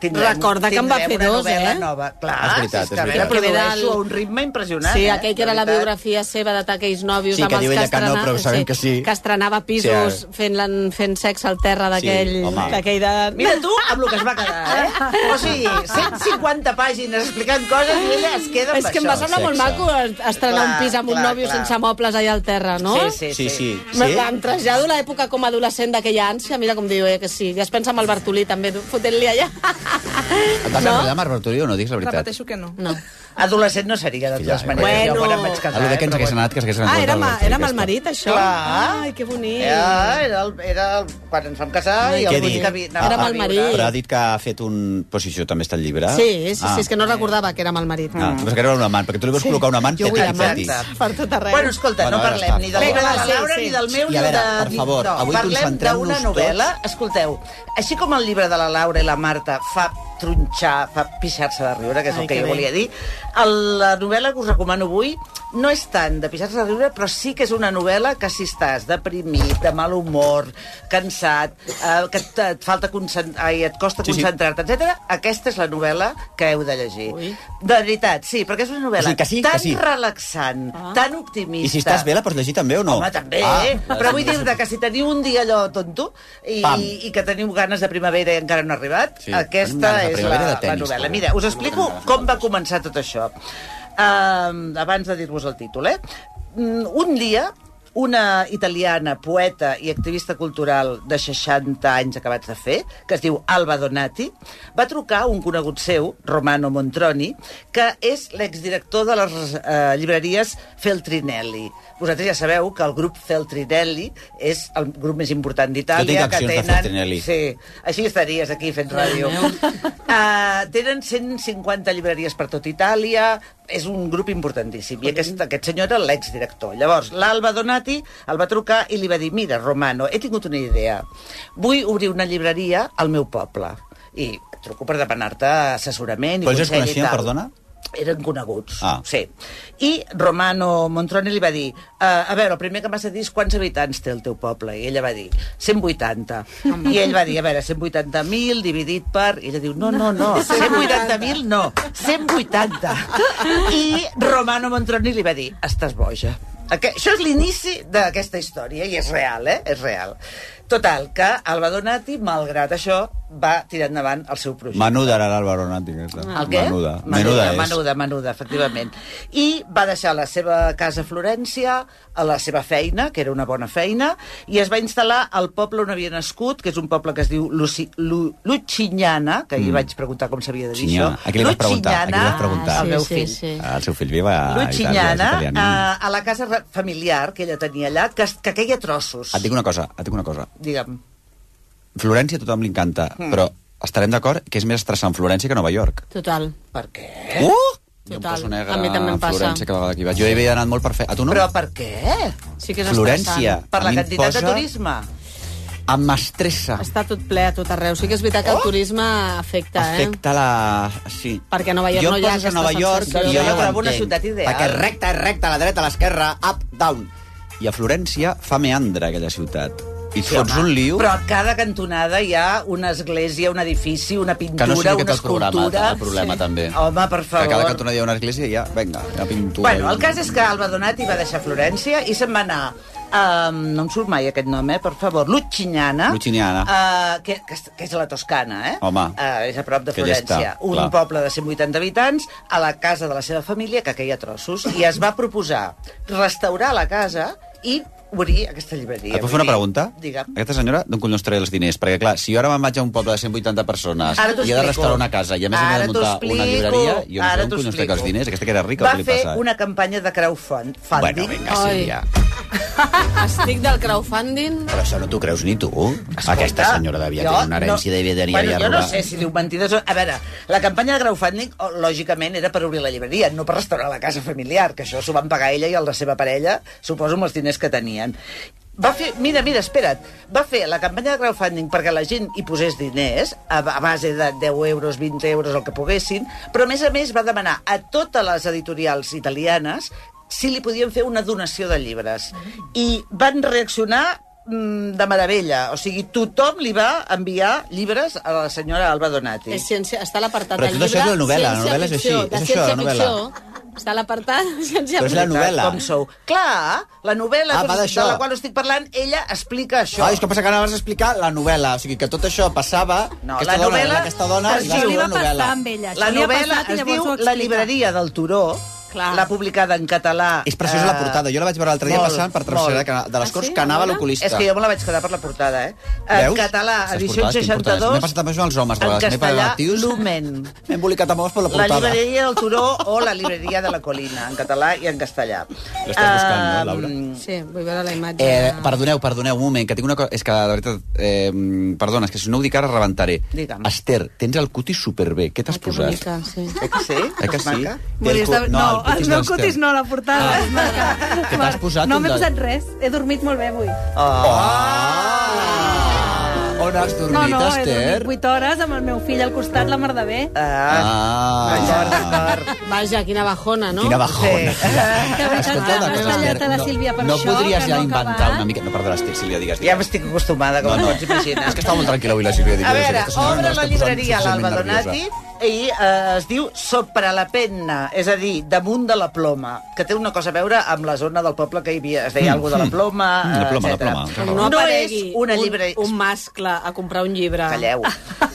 S14: tindrem,
S12: Recorda que en va
S14: tindrem
S12: fer
S14: una
S12: dos,
S14: novel·la
S12: eh?
S14: nova. Clar,
S13: Ah, És veritat,
S14: si
S13: és
S14: que a veure,
S13: veritat.
S14: produeixo
S12: Que
S14: a
S12: del-
S14: un ritme impressionant.
S12: sí,
S14: eh?
S12: aquell que era la
S14: veritat.
S12: biografia seva de d'aquells nòvios
S13: Sí, que
S12: amb
S13: diu
S12: els que,
S13: ella que no,
S12: estrena-
S13: però sabem Pues que sí.
S12: Que estrenava pisos
S13: Sí,
S12: sí, fent, fent sexe al terra d'aquell...
S13: home.
S12: d'aquell de...
S14: Mira tu amb el que es va quedar, eh? O sigui, 150 pàgines explicant coses i ella es queda amb
S12: Ah, és que em
S14: això.
S12: va semblar molt maco estrenar
S14: Clar,
S12: un pis amb un
S14: clar,
S12: nòvio
S14: clar.
S12: sense mobles allà al terra, no?
S14: Sí,
S13: Sí, sí.
S12: Me van trasllado l'època com a adolescent d'aquella ànsia, mira com diu ella que sí. Ja es pensa amb el Bartolí també, fotent-li allà.
S13: Et vas enredar amb el Bartolí o no? Digues la veritat.
S12: Repeteixo que no. No. Ah,
S14: Adolescent no seria, de totes
S13: Filla,
S14: maneres.
S13: bueno.
S14: Jo quan em vaig casar,
S13: Allò de
S14: eh?
S13: que ens hagués anat, que s'hagués anat.
S12: Ah,
S13: tot
S12: era,
S13: el
S12: ma,
S13: Bartolí,
S12: era amb el
S13: aquesta.
S12: marit, això?
S14: Clar.
S12: Ai, que bonic.
S14: Era, era, el, era el, quan ens vam casar
S13: Què
S14: i el
S13: ha dit?
S14: bonic que vi-
S12: Era
S14: anàvem
S12: amb
S14: a
S12: el
S14: viure.
S12: marit.
S13: Però ha dit que ha fet un... Però si això també està al llibre.
S12: Sí, sí, sí, és que no recordava que era amb el marit.
S13: Ah, mm. que era una amant, perquè tu li vols col·locar una amant
S12: Jo vull
S13: peti,
S12: amants
S13: peti.
S12: per tot arreu.
S14: Bueno, escolta,
S13: Bueno,
S14: no
S13: ara
S14: parlem
S13: està.
S14: ni del llibre de
S12: Vinga,
S14: la
S12: va, sí,
S14: Laura,
S12: sí.
S14: ni del meu,
S13: I a veure,
S14: ni de...
S13: per
S14: ni-
S13: favor,
S14: no,
S13: avui
S14: parlem
S13: concentrem-nos
S14: d'una novel·la... Escolteu, així com el llibre de la Laura i la Marta fa tronxar, fa pixar-se de riure, que és
S12: Ai,
S14: el que,
S12: que
S14: jo
S12: bé.
S14: volia dir, el, la novel·la que us recomano avui no és tant de pixar-se de riure, però sí que és una novel·la que si estàs deprimit, de mal humor, cansat, eh, que et, et falta concent... Ai, et costa
S13: Sí, sí.
S14: concentrar-te, etc. aquesta és la novel·la que heu de llegir.
S12: Ui.
S14: De veritat, sí, perquè és una novel·la
S13: O sigui que sí, que
S14: tan
S13: sí. Ah.
S14: relaxant, tan optimista...
S13: I si estàs bé, la pots llegir també o no?
S14: Home, també,
S13: Ah,
S14: eh? Però vull
S13: sí.
S14: dir-te que si teniu un dia allò tonto i,
S13: Pam.
S14: i que teniu ganes de primavera i encara no ha arribat,
S13: Sí,
S14: sí.
S13: tenim
S14: aquesta
S13: ganes de
S14: és la,
S13: primavera de
S14: la
S13: tenis,
S14: novel·la.
S13: també.
S14: Mira, us explico com va començar tot això. Uh, abans de dir-vos el títol, eh? Mm, Un dia, una italiana, poeta i activista cultural de 60 anys acabats de fer, que es diu Alba Donati, va trucar a un conegut seu, Romano Montroni, que és l'exdirector de les eh, llibreries Feltrinelli. Vosaltres ja sabeu que el grup Feltrinelli és el grup més important d'Itàlia.
S13: Jo tinc accions de Feltrinelli.
S14: Sí, així estaries aquí fent ràdio. Uh, tenen 150 llibreries per tot Itàlia, és un grup importantíssim. I aquest, aquest senyor era l'exdirector. Llavors, l'Alba Donati el va trucar i li va dir «Mira, Romano, he tingut una idea. Vull obrir una llibreria al meu poble». I et truco per demanar-te assessorament i
S13: Però ells es
S14: consell i
S13: coneixien,
S14: tal.
S13: perdona?
S14: Eren coneguts,
S13: Ah.
S14: sí. I Romano Montrone li va dir eh, a veure, el primer que m'has de dir és quants habitants té el teu poble. I ella va dir 180. I ell va dir, a veure, 180.000 dividit per... I ella diu, no, no, no, 180.000 no, 180. I Romano Montrone li va dir, estàs boja. Aqu això és l'inici d'aquesta història, i és real, eh? És real. Total, que Alba Donati, malgrat això, va tirar endavant el seu projecte.
S13: Menuda era l'Àlvaro Nati, aquesta.
S12: Ah.
S14: El què?
S13: Menuda. Menuda, és.
S14: Menuda, menuda, efectivament. I va deixar la seva casa a Florència, a la seva feina, que era una bona feina, i es va instal·lar al poble on havia nascut, que és un poble que es diu Luci, Lu, Luchinyana, que ahir
S13: Mm.
S14: mm. vaig preguntar com s'havia de dir
S13: Luchinyana.
S14: això.
S13: A qui li vas preguntar? A qui li vas
S14: Luchinyana,
S13: preguntar?
S14: el
S13: Ah,
S14: meu
S13: sí,
S14: fill.
S13: Ah, El seu fill viu a Itàlia, és
S14: Luchinyana,
S13: italiana.
S14: a, a la casa re- familiar que ella tenia allà, que, es- que queia a trossos.
S13: Et dic una cosa, et dic una cosa.
S14: Digue'm.
S13: Florència a tothom li encanta,
S14: Mm.
S13: però estarem d'acord que és més estressant Florència que Nova York.
S12: Total.
S14: Per què?
S13: Uh! Jo em
S12: Total.
S13: poso negre
S12: A mi també em
S13: a
S12: passa.
S13: Ah, Florència cada vegada que hi vaig. Jo hi havia anat molt per fer... A tu no?
S14: Però per què?
S12: Sí que és
S13: Florència.
S12: estressant.
S14: Per
S13: A
S14: la
S13: mi em
S14: quantitat
S13: posa-
S14: de turisme?
S13: Em estressa.
S12: Està tot ple a tot arreu. Sí que és veritat que el turisme afecta,
S13: Oh!
S12: eh?
S13: Afecta la... Sí.
S12: Perquè a Nova York
S13: jo
S12: no
S13: em
S12: hi ha
S13: poses a
S12: aquesta
S13: Nova York
S12: sensació.
S13: i jo ja ho
S14: Però
S13: entenc.
S14: una ciutat ideal.
S13: Perquè recta, és recta, a la dreta, a l'esquerra, up, down. I a Florència fa meandre aquella ciutat. I et fots un lío...
S14: Però a cada cantonada hi ha una església, un edifici, una
S13: Que
S14: pintura,
S13: no sé
S14: una
S13: aquest el
S14: escultura... Oh,
S13: programa, el problema també.
S14: Home, per
S13: Que a
S14: favor.
S13: cada cantona hi ha una església i ja, vinga, una pintura.
S14: Bueno,
S13: i-
S14: el cas és que Alba Donati va deixar Florència i se'n va anar Um, no em surt mai aquest nom, eh? Per favor, Luchignana.
S13: Lucignana.
S14: Uh, que, que, és- que és a la Toscana, eh?
S13: Home,
S14: Uh, és a prop de
S13: que ja
S14: Florència.
S13: està,
S14: un
S13: clar.
S14: poble de 180 habitants, a la casa de la seva família, que queia trossos, i es va proposar restaurar la casa i obrir aquesta llibreria.
S13: Et puc fer una
S14: Vull dir,
S13: pregunta?
S14: Digue'm.
S13: Aquesta senyora, d'on collons traia els diners? Perquè, clar, si jo ara me'n vaig a un poble de 180 persones
S14: Ara t'ho
S13: i he de
S14: explico.
S13: restaurar una casa i a més he
S14: Ara
S13: de
S14: t'ho
S13: muntar una
S14: explico.
S13: llibreria, jo no
S14: Ara
S13: sé d'on
S14: t'ho
S13: collons traia els
S14: explico.
S13: els diners. Aquesta que era rica,
S14: Va
S13: el que li
S14: fer
S13: passa.
S14: una campanya de crowdfunding.
S13: Bueno, vinga, Sílvia.
S12: eh? Estic del crowdfunding.
S13: Però això no t'ho creus ni tu. Aquesta senyora devia
S14: jo
S13: tenir una herència,
S14: no-
S13: devia tenir
S14: bueno,
S13: allà
S14: jo no
S13: robar.
S14: sé si diu mentides o... A veure, la campanya de crowdfunding, o- lògicament, era per obrir la llibreria, no per restaurar la casa familiar, que això s'ho van pagar ella i el de la seva parella, suposo, amb els diners que tenien. Va fer, mira, mira, espera't, va fer la campanya de crowdfunding perquè la gent hi posés diners, a, a base de 10 euros, 20 euros, el que poguessin, però a més a més va demanar a totes les editorials italianes si li podien fer una donació de llibres. I van reaccionar mm, de meravella. O sigui, tothom li va enviar llibres a la senyora Alba Donati.
S12: És ciència, està a l'apartat
S13: Però
S12: del
S13: tot
S12: llibre.
S13: això és la novel·la, la
S12: ciència
S13: novel·la és així,
S12: ficció,
S13: és
S12: De
S13: això, la
S12: ciència
S13: novel·la.
S12: ficció està a l'apartat de ciència
S13: Però és la
S12: ficció.
S13: novel·la.
S14: Com sou? Clar, la novel·la
S13: Ah, va
S14: de
S13: d'això.
S14: la qual estic parlant, ella explica això.
S13: Ah, és que passa que anaves a explicar la novel·la. O sigui, que tot això passava...
S14: No,
S13: aquesta
S14: la
S13: dona,
S14: novel·la-
S13: Aquesta dona...
S14: Però
S13: i
S14: sí,
S13: va
S14: li
S13: escriure
S14: va
S13: una novel·la.
S17: amb
S14: La
S17: ella. Això li ha
S14: novel·la
S17: passat i
S14: es
S17: llavors
S14: diu
S17: ho
S14: La
S17: explica.
S14: llibreria del Turó, l'ha publicada en català. eh,
S13: És preciosa la portada. Jo la vaig veure l'altre dia
S14: molt,
S13: passant per travessera
S14: molt.
S13: de
S17: Ah,
S13: les Corts que anava a l'oculista.
S14: És que jo me la vaig quedar per la portada, eh? En
S13: Veus?
S14: català,
S13: Saps
S14: edició
S13: portades que importants. M'he
S14: 62,
S13: passat amb això als homes, de
S14: en
S13: les meves
S14: castellà,
S13: tios.
S14: Lumen.
S13: M'he embolicat amb homes per la
S14: La
S13: portada.
S14: llibreria del Turó o la llibreria de la Colina, en català i en castellà.
S13: L'estàs buscant, no, Laura?
S12: Sí, vull veure la imatge.
S13: Eh, perdoneu, perdoneu, un moment, que tinc una cosa... És que, de veritat, eh, perdona, és que si no ho dic ara rebentaré.
S14: Digue'm.
S13: Esther, tens el cutis superbé. Què t'has
S12: Que
S13: posat?
S12: bonica, sí.
S14: Eh que sí?
S13: Eh que sí? Té el
S17: Volies
S13: cu-
S17: de... No,
S13: el cutis
S17: el meu
S13: d'Esther.
S17: cutis no, la portada. Ah.
S13: Que t'has posat
S17: no
S13: un
S17: m'he
S13: del-
S17: posat res. He dormit molt bé avui.
S14: Ah!
S13: On has dormit,
S17: no, no, he
S13: Esther?
S17: dormit 8 hores amb el meu fill al costat, la mar de bé.
S13: Ah,
S12: Vaja, quina bajona, no?
S13: quina bajona. Sí.
S17: Que vaig
S13: Escolta, una
S17: anar
S13: cosa,
S17: tallat
S13: Esther,
S17: a la
S13: no-
S17: Sílvia per
S13: no
S17: això,
S13: podries
S17: que
S13: ja
S17: no
S13: inventar
S17: acabat.
S13: una mica- no, perdona, Esther, Sílvia, digues,
S14: eh? Ja
S13: digues.
S14: m'estic acostumada, com
S13: No, no.
S14: no, pots imaginar.
S13: És que estava molt tranquil·la avui la Sílvia
S14: A
S13: Díaz.
S14: veure,
S13: Aquesta senyora no
S14: obre la
S13: està
S14: llibreria
S13: posant
S14: l'Alba
S13: especialment
S14: Donati i eh, es diu Sopra la penna, és a dir, damunt de la ploma, que té una cosa a veure amb la zona del poble que hi havia, es deia
S13: Mm,
S14: mm, alguna cosa de la
S13: mm.
S14: ploma,
S13: Mm, la ploma, la
S14: etcètera.
S13: ploma.
S12: Com
S14: No,
S12: no,
S14: és
S12: aparegui
S14: una
S12: un,
S14: llibre...
S12: un mascle a comprar un llibre.
S14: Calleu.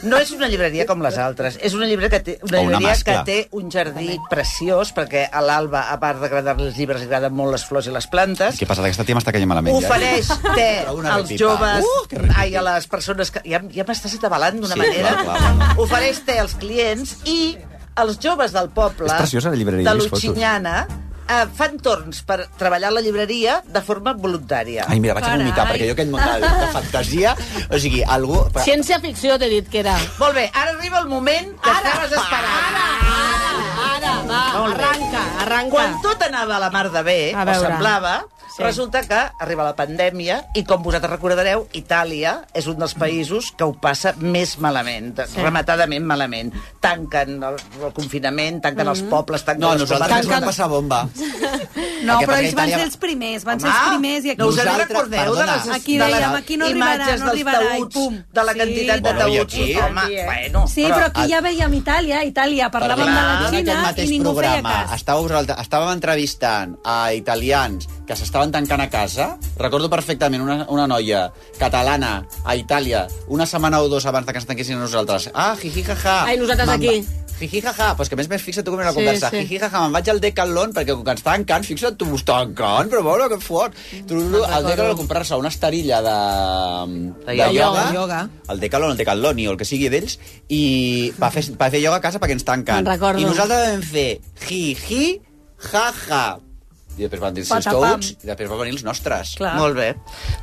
S14: No és una llibreria com les altres. És una llibreria que té, una
S13: O una
S14: llibreria que
S13: mascla.
S14: té un jardí preciós, perquè a l'Alba, a part d'agradar-li els llibres, li agraden molt les flors i les plantes.
S13: Què passa? Aquesta tia m'està caient malament. ja.
S14: Ofereix té
S13: Una
S14: als
S13: repipa.
S14: joves,
S13: Uh, que repipa.
S14: ai, a les persones que... Ja, ja m'estàs atabalant d'una
S13: Sí,
S14: manera.
S13: clar, clar, clar.
S14: Ofereix té als clients i els joves del poble,
S13: És preciosa la llibreria,
S14: de
S13: he vist fotos.
S14: l'Utxinyana, eh, fan torns per treballar a la llibreria de forma voluntària.
S13: Ai, mira, vaig a vomitar, perquè jo aquest muntal de fantasia... O sigui, algú...
S12: Ciència ficció t'he dit que era.
S14: Molt bé, ara arriba el moment que ara, estaves esperant. Ara,
S12: Ara, va,
S14: Molt bé.
S12: arranca, arranca.
S14: Quan tot anava a la mar de bé,
S12: A
S14: o
S12: veure.
S14: semblava,
S12: Sí.
S14: sí. resulta que arriba la pandèmia i, com vosaltres recordareu, Itàlia és un dels països que ho passa més malament, sí. rematadament malament. Tanquen el, el confinament, tanquen els pobles, tanquen
S13: No,
S14: les
S13: nosaltres ens vam
S14: comarques...
S13: passar bomba.
S17: No,
S13: Perquè
S17: però
S13: perquè
S17: ells van
S13: Itàlia- Ah!
S17: ser els primers, van ser
S14: Home,
S17: els primers i aquí...
S14: No us en
S13: Nosaltres-
S14: recordeu de les,
S13: perdona.
S17: Aquí
S14: de
S17: dèiem,
S14: les
S17: aquí no arribarà,
S14: imatges
S17: no
S14: dels
S17: arribarà, i
S14: taüts,
S17: pum.
S14: de la
S17: Sí.
S14: quantitat de
S13: Bueno, i
S14: taüts?
S13: aquí?
S14: Home,
S12: Aquí, eh?
S14: bueno,
S17: Sí, però aquí ja veiem Itàlia, Itàlia. Parlàvem de la
S13: en aquest
S17: Xina i
S13: mateix
S17: ningú feia
S13: programa
S17: cas.
S13: estàveu vosaltres- estàvem entrevistant a italians que s'estaven tancant a casa. Recordo perfectament una, una noia catalana a Itàlia una setmana o dos abans de que ens tanquessin a nosaltres. Ah, jiji, jaja.
S12: Ai, nosaltres
S13: Me'n
S12: aquí.
S13: va- Jiji, jaja. Però és que a més més fixa't tu com era la
S12: Sí,
S13: conversa.
S12: sí.
S13: Jiji, jaja, me'n vaig al Decathlon perquè com que ens tancant, fixa't tu, ens tancant, però veure que fort. Tururu, al Decathlon a comprar-se una esterilla de, de,
S14: ioga.
S13: ioga,
S12: De ioga.
S13: el Decathlon, el Decathloni o el que sigui d'ells, i va fer, va fer ioga a casa perquè ens tanquen
S12: Me'n recordo.
S13: i nosaltres vam fer hi-hi, ha-ha. I després van dir els
S17: Patapam.
S13: touts, i després van venir els nostres.
S12: Clar.
S14: Molt bé.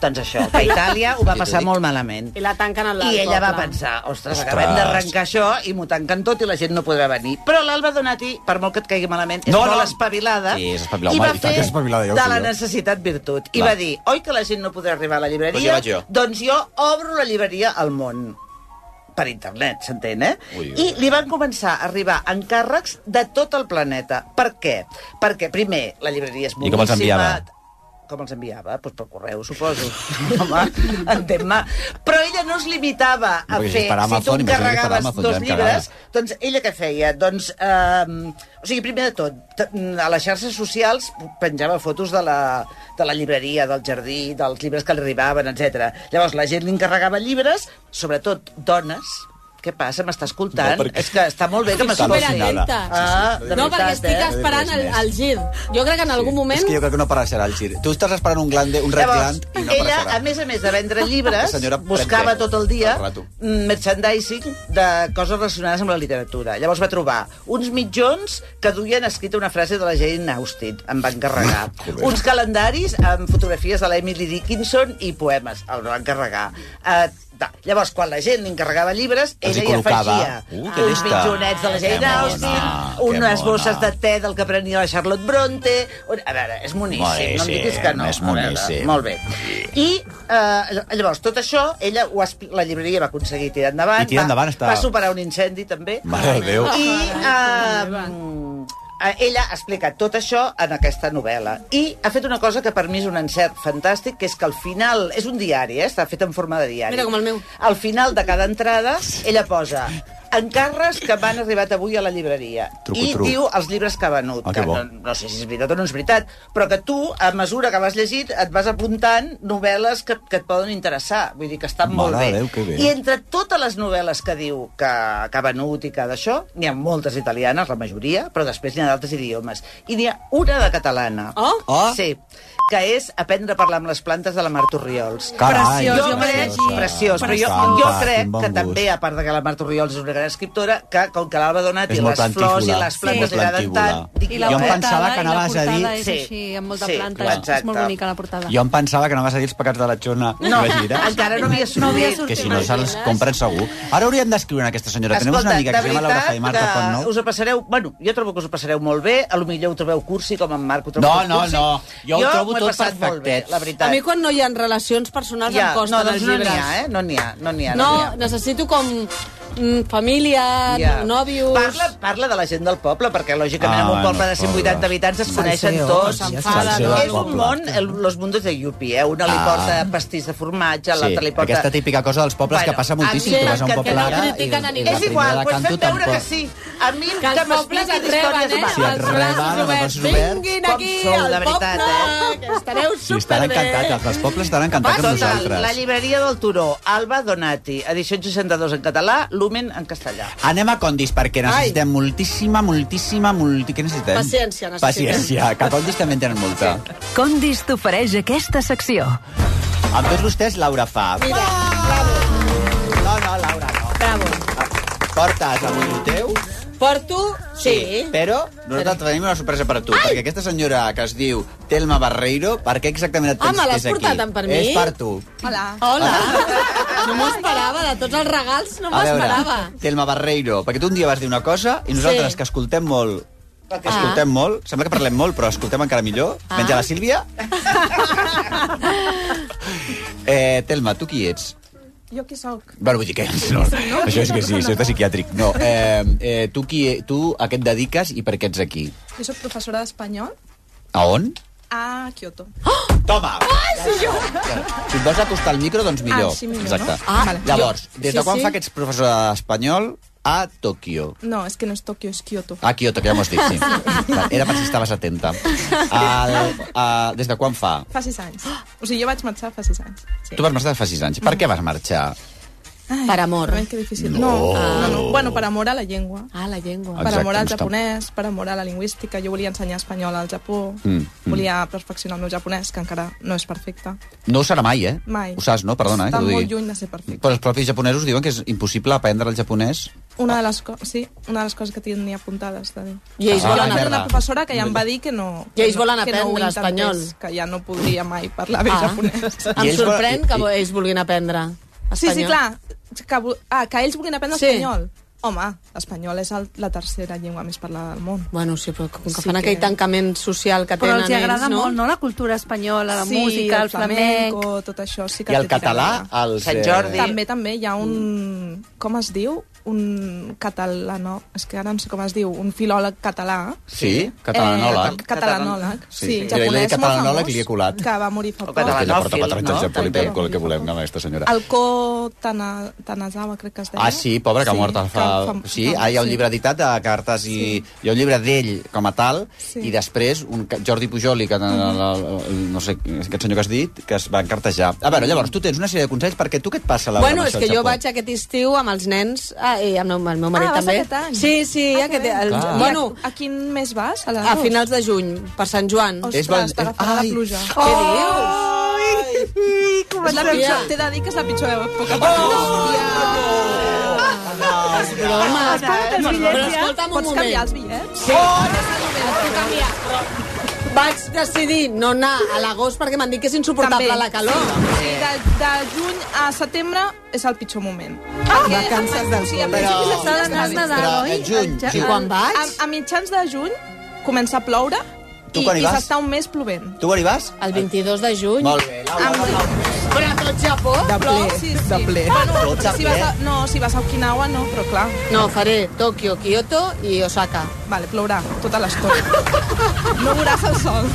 S14: Doncs això, que a Itàlia ho
S13: Ja
S14: va
S13: t'ho
S14: passar
S13: dic.
S14: molt malament.
S12: I la tanquen al
S14: I ella va
S12: poble.
S14: pensar, ostres,
S13: Ostres.
S14: acabem d'arrencar això i m'ho tanquen tot i la gent no podrà venir. Però l'Alba Donati, per molt que et caigui malament, és
S13: No,
S14: molt
S13: no.
S14: espavilada
S13: Sí, és espavilada,
S14: i va
S13: home, i tant
S14: fer
S13: que és espavilada, ja ho
S14: de
S13: sé
S14: la
S13: jo.
S14: necessitat virtut. I
S13: Clar.
S14: va dir, oi que la gent no podrà arribar a la
S13: Doncs ja
S14: llibreria?
S13: vaig jo.
S14: Doncs jo obro la llibreria al món per internet, s'entén, eh?
S13: Ui, ui.
S14: I li van començar a arribar encàrrecs de tot el planeta. Per què? Perquè, primer, la llibreria és
S13: I
S14: boníssima...
S13: com els enviava?
S14: Com els enviava? Doncs per correu, suposo. Home, entén-me. Però ella no es limitava a
S13: Perquè si
S14: fer...
S13: és per
S14: si tu
S13: Amazon, imagina't que per
S14: encarregaves
S13: Amazon ja
S14: dos
S13: em
S14: llibres,
S13: cagava.
S14: doncs ella què feia? Doncs, eh, o sigui, primer de tot, t- a les xarxes socials penjava fotos de la, de la llibreria, del jardí, dels llibres que li arribaven, etc. Llavors, la gent li encarregava llibres, sobretot dones. Què passa? M'està escoltant?
S13: No, perquè-
S14: És que està molt bé que
S13: Estic
S14: m'escolti.
S12: superatenta.
S14: Ah, de
S12: no, perquè
S14: veritat,
S12: estic
S14: eh?
S12: esperant el, el gir. Jo crec que en algun moment...
S13: És que jo crec que no apareixerà el gir. Tu estàs esperant un glande, un red
S14: eh? Llavors,
S13: gland, i no
S14: ella,
S13: apareixerà.
S14: a més a més de vendre
S13: La
S14: llibres,
S13: senyora
S14: buscava
S13: pren
S14: tot el dia
S13: el rato.
S14: mm, merchandising de coses relacionades amb la literatura. Llavors va trobar uns mitjons que duien escrita una frase de la Jane Austen, em van carregar. uns calendaris amb fotografies de l'Emily Dickinson i poemes, el van carregar. Eh, Da. Llavors, quan la gent li encarregava llibres,
S13: Els
S14: ella
S13: hi
S14: hi
S13: col·locava.
S14: afegia
S13: Uh, que
S14: uns
S13: llesta.
S14: mitjonets de la
S13: Que
S14: Jane
S13: mona,
S14: Austen,
S13: que
S14: unes
S13: mona.
S14: bosses de te del que prenia la Charlotte Bronte... Un- A veure, és moníssim, no em diguis que no.
S13: És
S14: A veure,
S13: moníssim.
S14: Molt bé. I eh, llavors, tot això, ella ho expli- la llibreria va aconseguir tirar endavant.
S13: I tirar endavant
S14: va,
S13: està-
S14: va superar un incendi, també.
S13: Mare de Déu.
S14: I eh, eh, ella ha explicat tot això en aquesta novel·la. I ha fet una cosa que per mi és un encert fantàstic, que és que al final... És un diari, eh? està fet en forma de diari.
S19: Mira com el meu.
S14: Al final de cada entrada, ella posa encarres que van arribat avui a la llibreria.
S13: Truco,
S14: I
S13: truco.
S14: diu els llibres que ha venut.
S13: Ah, que
S14: que
S13: bo.
S14: no, no sé si és veritat o no és veritat, però que tu, a mesura que vas llegint, et vas apuntant novel·les que, que et poden interessar. Vull dir que estan
S13: Mare
S14: molt bé.
S13: de Déu, que bé.
S14: I entre totes les novel·les que diu que, que ha venut i que d'això, n'hi ha moltes italianes, la majoria, però després n'hi ha d'altres idiomes. I n'hi ha una de catalana.
S12: Oh?
S13: Oh.
S14: Sí que és Aprendre a parlar amb les plantes de la Mar Torriols.
S13: Carai,
S14: preciós, jo
S13: preciosa.
S14: crec, preciós, però jo,
S13: Preciosa.
S14: jo
S13: Quin
S14: crec
S13: bon
S14: que
S13: gust.
S14: també, a part de que la Mar Torriols és una gran escriptora, que com que l'Alba Donat
S13: És
S14: i
S13: molt
S14: les flors i
S13: plantívola,
S14: les
S13: sí.
S14: plantes
S13: molt
S14: li agraden tant...
S13: plantívola.
S14: dic,
S13: I la Jo em portada, pensava que
S20: i la
S13: anaves a dir-
S20: portada és així, amb molta planta, és- és molt bonica, la portada.
S13: Jo em pensava que anaves a dir els pecats de la Xona.
S14: No,
S13: La gira.
S14: encara no havia sortit. No havia sortit,
S13: Que si no se'ls
S14: imagines?
S13: compren segur. Ara hauríem d'escriure en aquesta senyora. Tenim una amiga que
S14: de
S13: es llama Laura
S14: veritat
S13: Jaimar, que quan no...
S14: us ho passareu... Bueno, jo trobo que us ho passareu molt bé, a lo millor ho trobeu cursi, com en Marc ho trobo
S13: No,
S14: tot
S13: no,
S14: cursi.
S13: no, jo ho trobo
S14: m'ho he
S13: tot
S14: passat molt bé,
S13: perfectet.
S14: la
S12: A
S14: veritat.
S12: mi quan no hi ha relacions personals ja, em costen
S14: no, doncs
S12: els
S14: no
S12: llibres.
S14: n'hi ha, eh? No n'hi ha, no n'hi ha.
S12: no,
S14: n'hi ha.
S12: necessito com mm, família, mm.
S14: Ja.
S12: nòvios...
S14: Parla, parla de la gent del poble, perquè lògicament
S13: Ah,
S14: en un
S13: bueno,
S14: poble de 180 habitants es coneixen
S12: Salseo,
S14: tots.
S12: s'enfaden,
S13: Salseo del
S14: És un
S13: poble.
S14: món, el, los mundos de Yupi, eh? Una li
S13: Ah.
S14: porta pastís de formatge,
S13: Sí,
S14: l'altra li porta...
S13: aquesta típica cosa dels pobles que passa moltíssim.
S14: a mi
S13: Tu vas a un
S14: que-
S13: poble
S14: que no
S13: ara i-
S14: critiquen
S13: i
S14: a
S13: la
S14: ningú. És igual,
S13: primera de
S14: doncs
S13: canto
S14: fem veure
S13: tampoc.
S14: que sí. A mi
S12: Que els
S14: que
S12: pobles
S14: m'expliquin
S12: et reben,
S14: històries...
S12: eh?
S13: Si et doncs, reben,
S12: els braços
S13: els
S12: oberts.
S13: braços oberts.
S12: Vinguin
S14: Com
S12: aquí,
S14: sou,
S12: al
S14: de veritat,
S12: poble,
S14: eh?
S12: que estareu
S13: Sí, estan
S12: superbé.
S13: encantats. Els pobles estan encantats amb
S14: Total,
S13: nosaltres.
S14: la llibreria del Turó, Alba Donati, edició 62 en català, Lumen en castellà.
S13: Anem a Condis, perquè necessitem moltíssima, moltíssima, multi... Què necessitem?
S12: Paciència necessitem.
S13: Paciència, que a Condis també en tenen molta.
S21: Condis t'ofereix aquesta secció.
S13: Amb tots vostès, Laura fa.
S12: Mira,
S13: No, no, Laura, no.
S12: bravo.
S13: Portes avui el teu,
S12: Porto, sí.
S13: però nosaltres tenim una sorpresa per a tu, perquè aquesta senyora que es diu Telma Barreiro, per què exactament et
S12: Ah,
S13: penses
S12: me
S13: que
S12: l'has
S13: és aquí?
S12: portat en per mi?
S13: És per tu.
S17: Hola.
S12: Hola.
S14: Ah.
S12: No m'ho esperava, de tots els regals no m'ho
S13: a veure,
S12: esperava.
S13: Telma Barreiro, perquè tu un dia vas dir una cosa i nosaltres,
S12: Sí.
S13: que escoltem molt,
S14: Ah.
S13: escoltem molt, sembla que parlem molt, però escoltem encara millor,
S12: Ah.
S13: menys a la Sílvia. eh, Telma, tu qui ets?
S17: Jo qui sóc?
S13: Bueno, vull dir que... No, això és que sí, això és de psiquiàtric. No, eh, eh, tu, qui, tu a què et dediques i per què ets aquí?
S17: Jo sóc professora d'espanyol
S13: A on?
S17: a Kyoto.
S13: Toma! Ai, Si et vols acostar al micro, doncs millor.
S17: Ah, sí, millor,
S13: Exacte.
S17: no? Ah, vale.
S13: Llavors,
S17: Jo-
S13: des
S17: sí,
S13: de quan
S17: sí.
S13: fa que ets professor d'espanyol a Tòquio?
S17: No, és que no és Tòquio, és Kyoto.
S13: A Kyoto, Ah, que ja m'ho has dit, sí. Vale, Era per si estaves atenta. Al, a, des de quan fa?
S17: Fa sis anys. O sigui, jo vaig marxar fa sis anys. Sí.
S13: Tu vas marxar fa 6 anys. Per què vas marxar?
S17: Ai,
S12: Per amor.
S17: Ai, que difícil. No.
S13: No.
S17: No, no. Bueno, per amor a la llengua.
S12: Ah, la llengua.
S17: per amor al
S13: no està-
S17: japonès, per amor a la lingüística. Jo volia ensenyar espanyol al Japó,
S13: Mm, mm.
S17: volia perfeccionar el meu japonès, que encara no és perfecte.
S13: No ho serà mai, eh?
S17: Mai.
S13: Ho saps, no? Perdona, eh?
S17: Està
S13: que t'ho
S17: molt
S13: digui.
S17: lluny de ser perfecte.
S13: Però els propis japonesos diuen que és impossible aprendre el japonès
S17: Una de les, co sí, una de les coses que tenia apuntades de dir.
S12: I ells
S13: Ah,
S12: volen
S13: és
S17: Tenia
S13: Merda.
S17: una professora que ja em va dir que no...
S12: I ells
S17: que no-
S12: volen
S17: que no ho
S12: aprendre
S17: intentés,
S12: espanyol.
S17: Que ja no podria mai parlar bé
S12: Ah.
S17: japonès.
S13: I
S12: Em
S13: ells
S12: sorprèn
S13: volen-
S12: que
S13: i-
S12: vo- ells vulguin aprendre espanyol.
S17: Sí, sí, clar. Que, vo- ah, que ells vulguin aprendre
S12: Sí.
S17: espanyol. Home, l'espanyol és el, la tercera llengua més parlada del món.
S12: Bueno, sí, però com que
S17: Sí
S12: fan
S17: que-
S12: aquell tancament social que
S20: Però
S12: tenen
S20: els hi agrada
S12: ells, no?
S20: molt, no?, la cultura espanyola, la
S17: sí,
S20: música, el flamenc...
S17: flamenco, tot això. Sí que
S13: I el
S17: té que
S13: català,
S17: veure.
S13: els,
S14: Sant
S13: eh,
S14: Jordi.
S17: També, també, hi ha un... Com es diu? Un català, no? És que ara no sé com es diu. Un filòleg català.
S13: Sí, catalanòleg.
S17: Eh, catalanòleg.
S13: Sí,
S17: Sí,
S13: sí.
S17: sí.
S13: Jo li he dit
S17: japonès molt
S13: catalanòleg
S17: famós,
S13: i li he colat.
S17: Que va morir fa poc.
S13: Perquè ella porta
S14: Catalanòfil,
S13: quatre anys al
S14: no?
S13: Japó i podem
S14: També.
S13: col el que volem, no, aquesta senyora.
S17: El Ko Tana, Tanazawa, crec que es deia.
S13: Ah, sí, pobre, que ha mort fa...
S17: que
S13: Sí,
S17: que
S13: ah, hi ha un
S17: sí.
S13: llibre editat de cartes i... Hi ha un llibre d'ell com a tal,
S17: Sí.
S13: i després un ca- Jordi Pujol i que, no sé, aquest senyor que has dit, que es va encartejar. A veure, llavors, tu tens una sèrie de consells perquè tu què et passa, Laura,
S12: bueno,
S13: amb
S12: és
S13: això
S12: que
S13: al
S12: jo
S13: Japó?
S12: vaig aquest estiu amb els nens, ah, i amb el meu- el meu marit
S17: Ah, vas
S12: també.
S17: aquest any?
S12: Sí, sí,
S17: Ah, que
S12: aquest,
S17: bé.
S12: el,
S13: Clar.
S12: bueno,
S17: I a, a quin mes vas? A, les
S12: a
S17: dues?
S12: finals de juny, per Sant Joan.
S17: Ah, Ostres,
S13: És val-
S17: t'agafarà
S13: Ai.
S17: la pluja.
S12: Què dius?
S17: és la pitjor, t'he de dir que és la pitjor època.
S12: És broma.
S17: Ah,
S20: Espera't els bitllets,
S12: Però
S20: ja.
S12: escolta'm un
S17: Pots
S13: Oh,
S12: moment.
S17: canviar els bitllets?
S12: Sí. Oh, no! canviar, però... Vaig decidir no anar a l'agost perquè m'han dit que és insuportable
S17: També.
S12: la calor.
S17: Sí, de, de juny a setembre és el pitjor moment.
S12: Ah,
S17: Perquè
S12: vacances
S17: a-
S12: del
S17: sí, a
S12: sol.
S17: principis
S12: Però-
S17: de setembre
S12: S'ha d'anar
S17: està
S12: a Nadal,
S17: bé.
S12: oi? Però en juny,
S17: A-
S12: juny. Quan vaig?
S17: A, a mitjans de juny comença a ploure
S13: Tu
S17: i,
S13: quan hi
S17: i
S13: vas?
S17: s'està un mes plovent.
S13: Tu quan hi vas?
S12: El 22 de juny.
S13: Molt bé, Laura,
S17: Amb-
S12: Però a tot Japó?
S17: De ple, sí, sí. de ple.
S12: Ah,
S17: Bueno,
S13: Tot de
S17: si vas a,
S13: ple.
S17: no, si vas a Okinawa, no, però clar.
S12: No, faré Tòquio, Kyoto i Osaka.
S17: Vale, plourà tota l'estona. No veuràs el sol.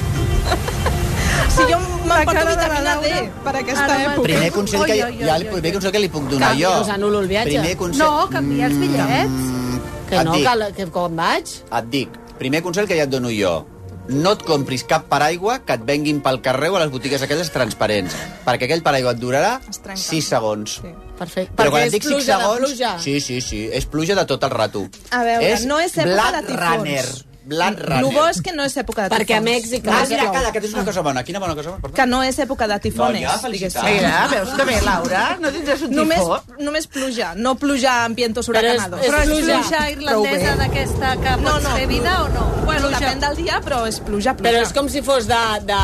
S17: Si jo m'emporto vitamina D per aquesta època.
S13: Primer consell que,
S17: Oi,
S13: hi
S17: oi, oi,
S13: ha el
S17: oi, oi.
S13: primer consell que li puc donar
S12: Canvi,
S13: jo.
S12: us anul·lo el viatge.
S13: Primer consell...
S12: No, canvia
S17: Mm.
S12: els bitllets. Que
S13: et
S12: no,
S13: dic.
S12: que, la- que quan vaig...
S13: Et dic, primer consell que ja et dono jo. No et compris cap paraigua que et venguin pel carrer o a les botigues aquelles transparents, perquè aquell paraigua et durarà 6 segons. Sí.
S12: Perfecte.
S13: Però quan et
S12: Perquè és
S13: dic 6
S12: pluja de
S13: segons...
S12: pluja.
S13: Sí, sí, sí, és pluja de tot el rato.
S17: A veure,
S13: és
S17: no és època
S13: Blade
S17: de tifons.
S13: Runner. Blade
S17: El
S13: Runner.
S17: bo és que no és època de tifons.
S12: Perquè a Mèxic
S13: Ah, mira, calla, que és una cosa bona. Quina bona cosa? Perdó.
S17: Que no és època de tifones.
S13: No, ja, felicitats.
S17: diguéssim.
S13: Mira, veus que bé, Laura,
S14: no tindràs un
S17: només,
S14: tifó.
S17: Només pluja, no pluja en vientos
S12: Però és-
S17: huracanados.
S12: és Però és pluja.
S21: pluja
S17: Ah, Prou
S21: irlandesa
S17: bé.
S21: d'aquesta que pots fer vida o no?
S17: Bueno,
S21: Pluja.
S17: depèn del dia, però és pluja, pluja.
S12: Però és com si fos de, de,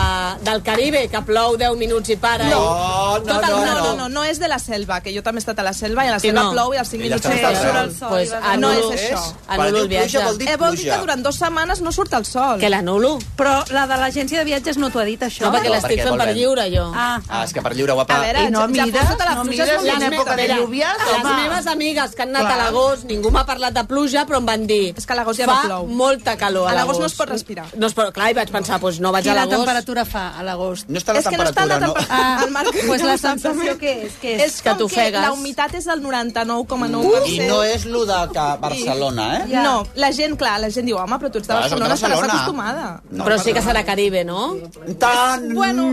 S12: del Caribe, que plou 10 minuts i para.
S17: No,
S12: i...
S17: no,
S12: Tot el
S17: no, no,
S12: rato.
S17: no, no, no és de la selva, que jo també he estat a la selva i a la
S12: Sí,
S17: selva
S12: no.
S17: plou i als 5
S13: Ella
S17: minuts
S13: està
S17: està
S13: a
S17: el
S13: la
S17: sol.
S13: selva.
S12: Pues
S17: no
S12: anulo-
S17: és això.
S13: Quan
S12: Anulo el
S13: diu pluja
S12: viatge.
S13: vol dir
S17: Eh, vol dir que
S13: pluja.
S17: durant dues setmanes no surt el sol.
S12: Que l'anulo.
S21: Però la de l'agència de viatges no t'ho ha dit, això?
S12: No, perquè
S13: No,
S12: l'estic
S13: perquè
S12: fent per
S13: volem.
S12: lliure, jo.
S21: Ah,
S13: Ah, és que per lliure, guapa.
S17: A veure,
S14: I no
S17: ja- ja
S14: mires,
S17: posa-te la
S14: no
S17: pluja,
S14: mires
S17: és
S14: en
S17: molt
S12: me-
S14: època de
S12: mira,
S14: lluvias,
S12: les
S14: home.
S12: meves amigues que han anat
S14: Clar.
S12: a l'agost, ningú m'ha parlat de pluja, però em van dir...
S17: És que a l'agost ja
S12: fa
S17: no plou."
S12: molta calor
S17: A
S12: a
S17: l'agost no es pot respirar.
S12: No es pot... Clar, i vaig pensar, doncs no vaig
S21: I
S12: a
S21: la
S12: l'agost.
S21: temperatura fa a l'agost?
S13: No està la
S17: és que no està
S13: temperatura,
S17: la
S13: no?
S17: temperatura.
S21: Ah,
S17: el marc-
S21: pues la sensació que és, que és...
S17: És
S12: que
S17: com que
S12: t'ofegues.
S17: la humitat és del 99,9%.
S13: I no és lo de que Barcelona, eh?
S17: Ja. No, la gent, clar, la gent diu, home, però tu ets de
S13: Clar,
S17: Barcelona,
S13: soc de
S17: estaràs
S13: Barcelona.
S17: acostumada.
S13: No,
S12: però sí que serà Caribe, no?
S13: Tant, mm,
S17: Bueno,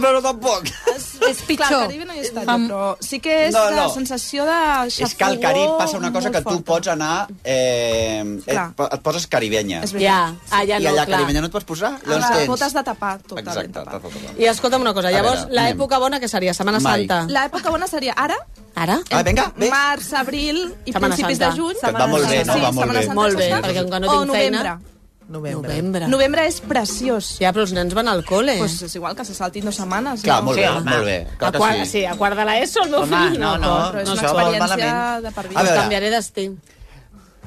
S13: però tampoc.
S17: és pitjor. Clar, el Caribe no hi està, jo, però sí que és
S13: No,
S17: no,
S13: no.
S17: no. la sensació de xafogó
S13: És que al Carib passa una cosa
S17: molt
S13: que tu
S17: forta.
S13: pots anar... Eh, et,
S17: Clar.
S13: et poses caribenya.
S17: És
S12: Ja,
S17: veritat.
S12: allà
S13: I
S12: no,
S13: allà
S12: clar.
S13: caribenya no et pots posar?
S17: Ah,
S13: Llavors
S17: clar,
S13: tens...
S17: Botes de tapar, totalment
S13: Exacte.
S17: tapat.
S13: tot, tot, tot.
S12: I escolta'm una cosa,
S13: A
S12: llavors,
S13: veure,
S12: l'època bona que seria? Setmana
S13: Mai.
S12: Santa.
S17: L'època bona seria ara,
S12: Ara?
S13: Ah, vinga, bé.
S17: març, abril i
S12: Setmana
S17: principis
S12: Santa.
S17: de juny.
S13: Que et va molt bé, no? Va molt bé.
S12: Molt bé,
S17: Setmana
S12: perquè encara no
S17: o
S12: tinc feina.
S17: novembre.
S14: Novembre.
S12: Novembre.
S17: Novembre és preciós.
S12: Ja, però els nens van al col·le.
S17: Pues és igual que se saltin dues setmanes.
S13: Clar,
S17: no?
S13: molt
S14: Sí,
S13: bé,
S14: home.
S13: molt bé. Clar
S12: a
S13: que
S12: quart,
S13: sí.
S12: sí, a quart de l'ESO, el meu
S14: Home,
S12: fill.
S14: no, no,
S17: Però és
S14: no
S17: una
S14: això vol
S17: experiència
S14: malament.
S17: de per
S13: A
S17: vida.
S12: Us
S13: veure.
S12: canviaré d'estí.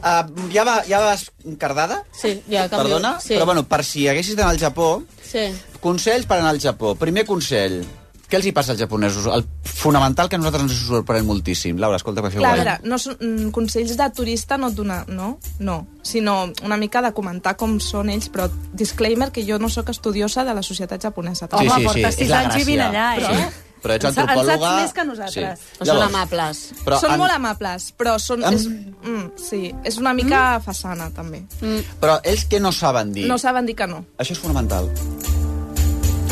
S13: Ah, ja, va, ja vas cardada?
S12: Sí, ja canvio.
S13: Perdona?
S12: Sí.
S13: Però bueno, per si haguessis d'anar al Japó,
S12: Sí.
S13: Consells per anar al Japó. Primer consell. Què els hi passa als japonesos? El fonamental que a nosaltres ens sorprèn moltíssim. Laura, escolta, que això
S17: Clar, a
S13: guai.
S17: veure, no, són- mm, consells de turista no et dona, no? No, sinó una mica de comentar com són ells, però disclaimer que jo no sóc estudiosa de la societat japonesa.
S13: Sí,
S21: Home,
S13: sí, sí,
S21: portes
S13: és
S21: sis
S13: la
S21: anys vivint
S13: gràcia.
S21: allà,
S13: Sí.
S21: eh?
S13: Però ets
S21: En sa- en saps
S13: antropòloga...
S21: més que nosaltres.
S12: No són amables.
S13: però
S17: són
S13: en-
S17: molt amables, però són...
S13: Em-
S17: És, mm, sí, és una
S13: Mm.
S17: mica façana, també.
S21: Mm.
S13: Però ells què no saben dir?
S17: No saben dir que no.
S13: Això és fonamental.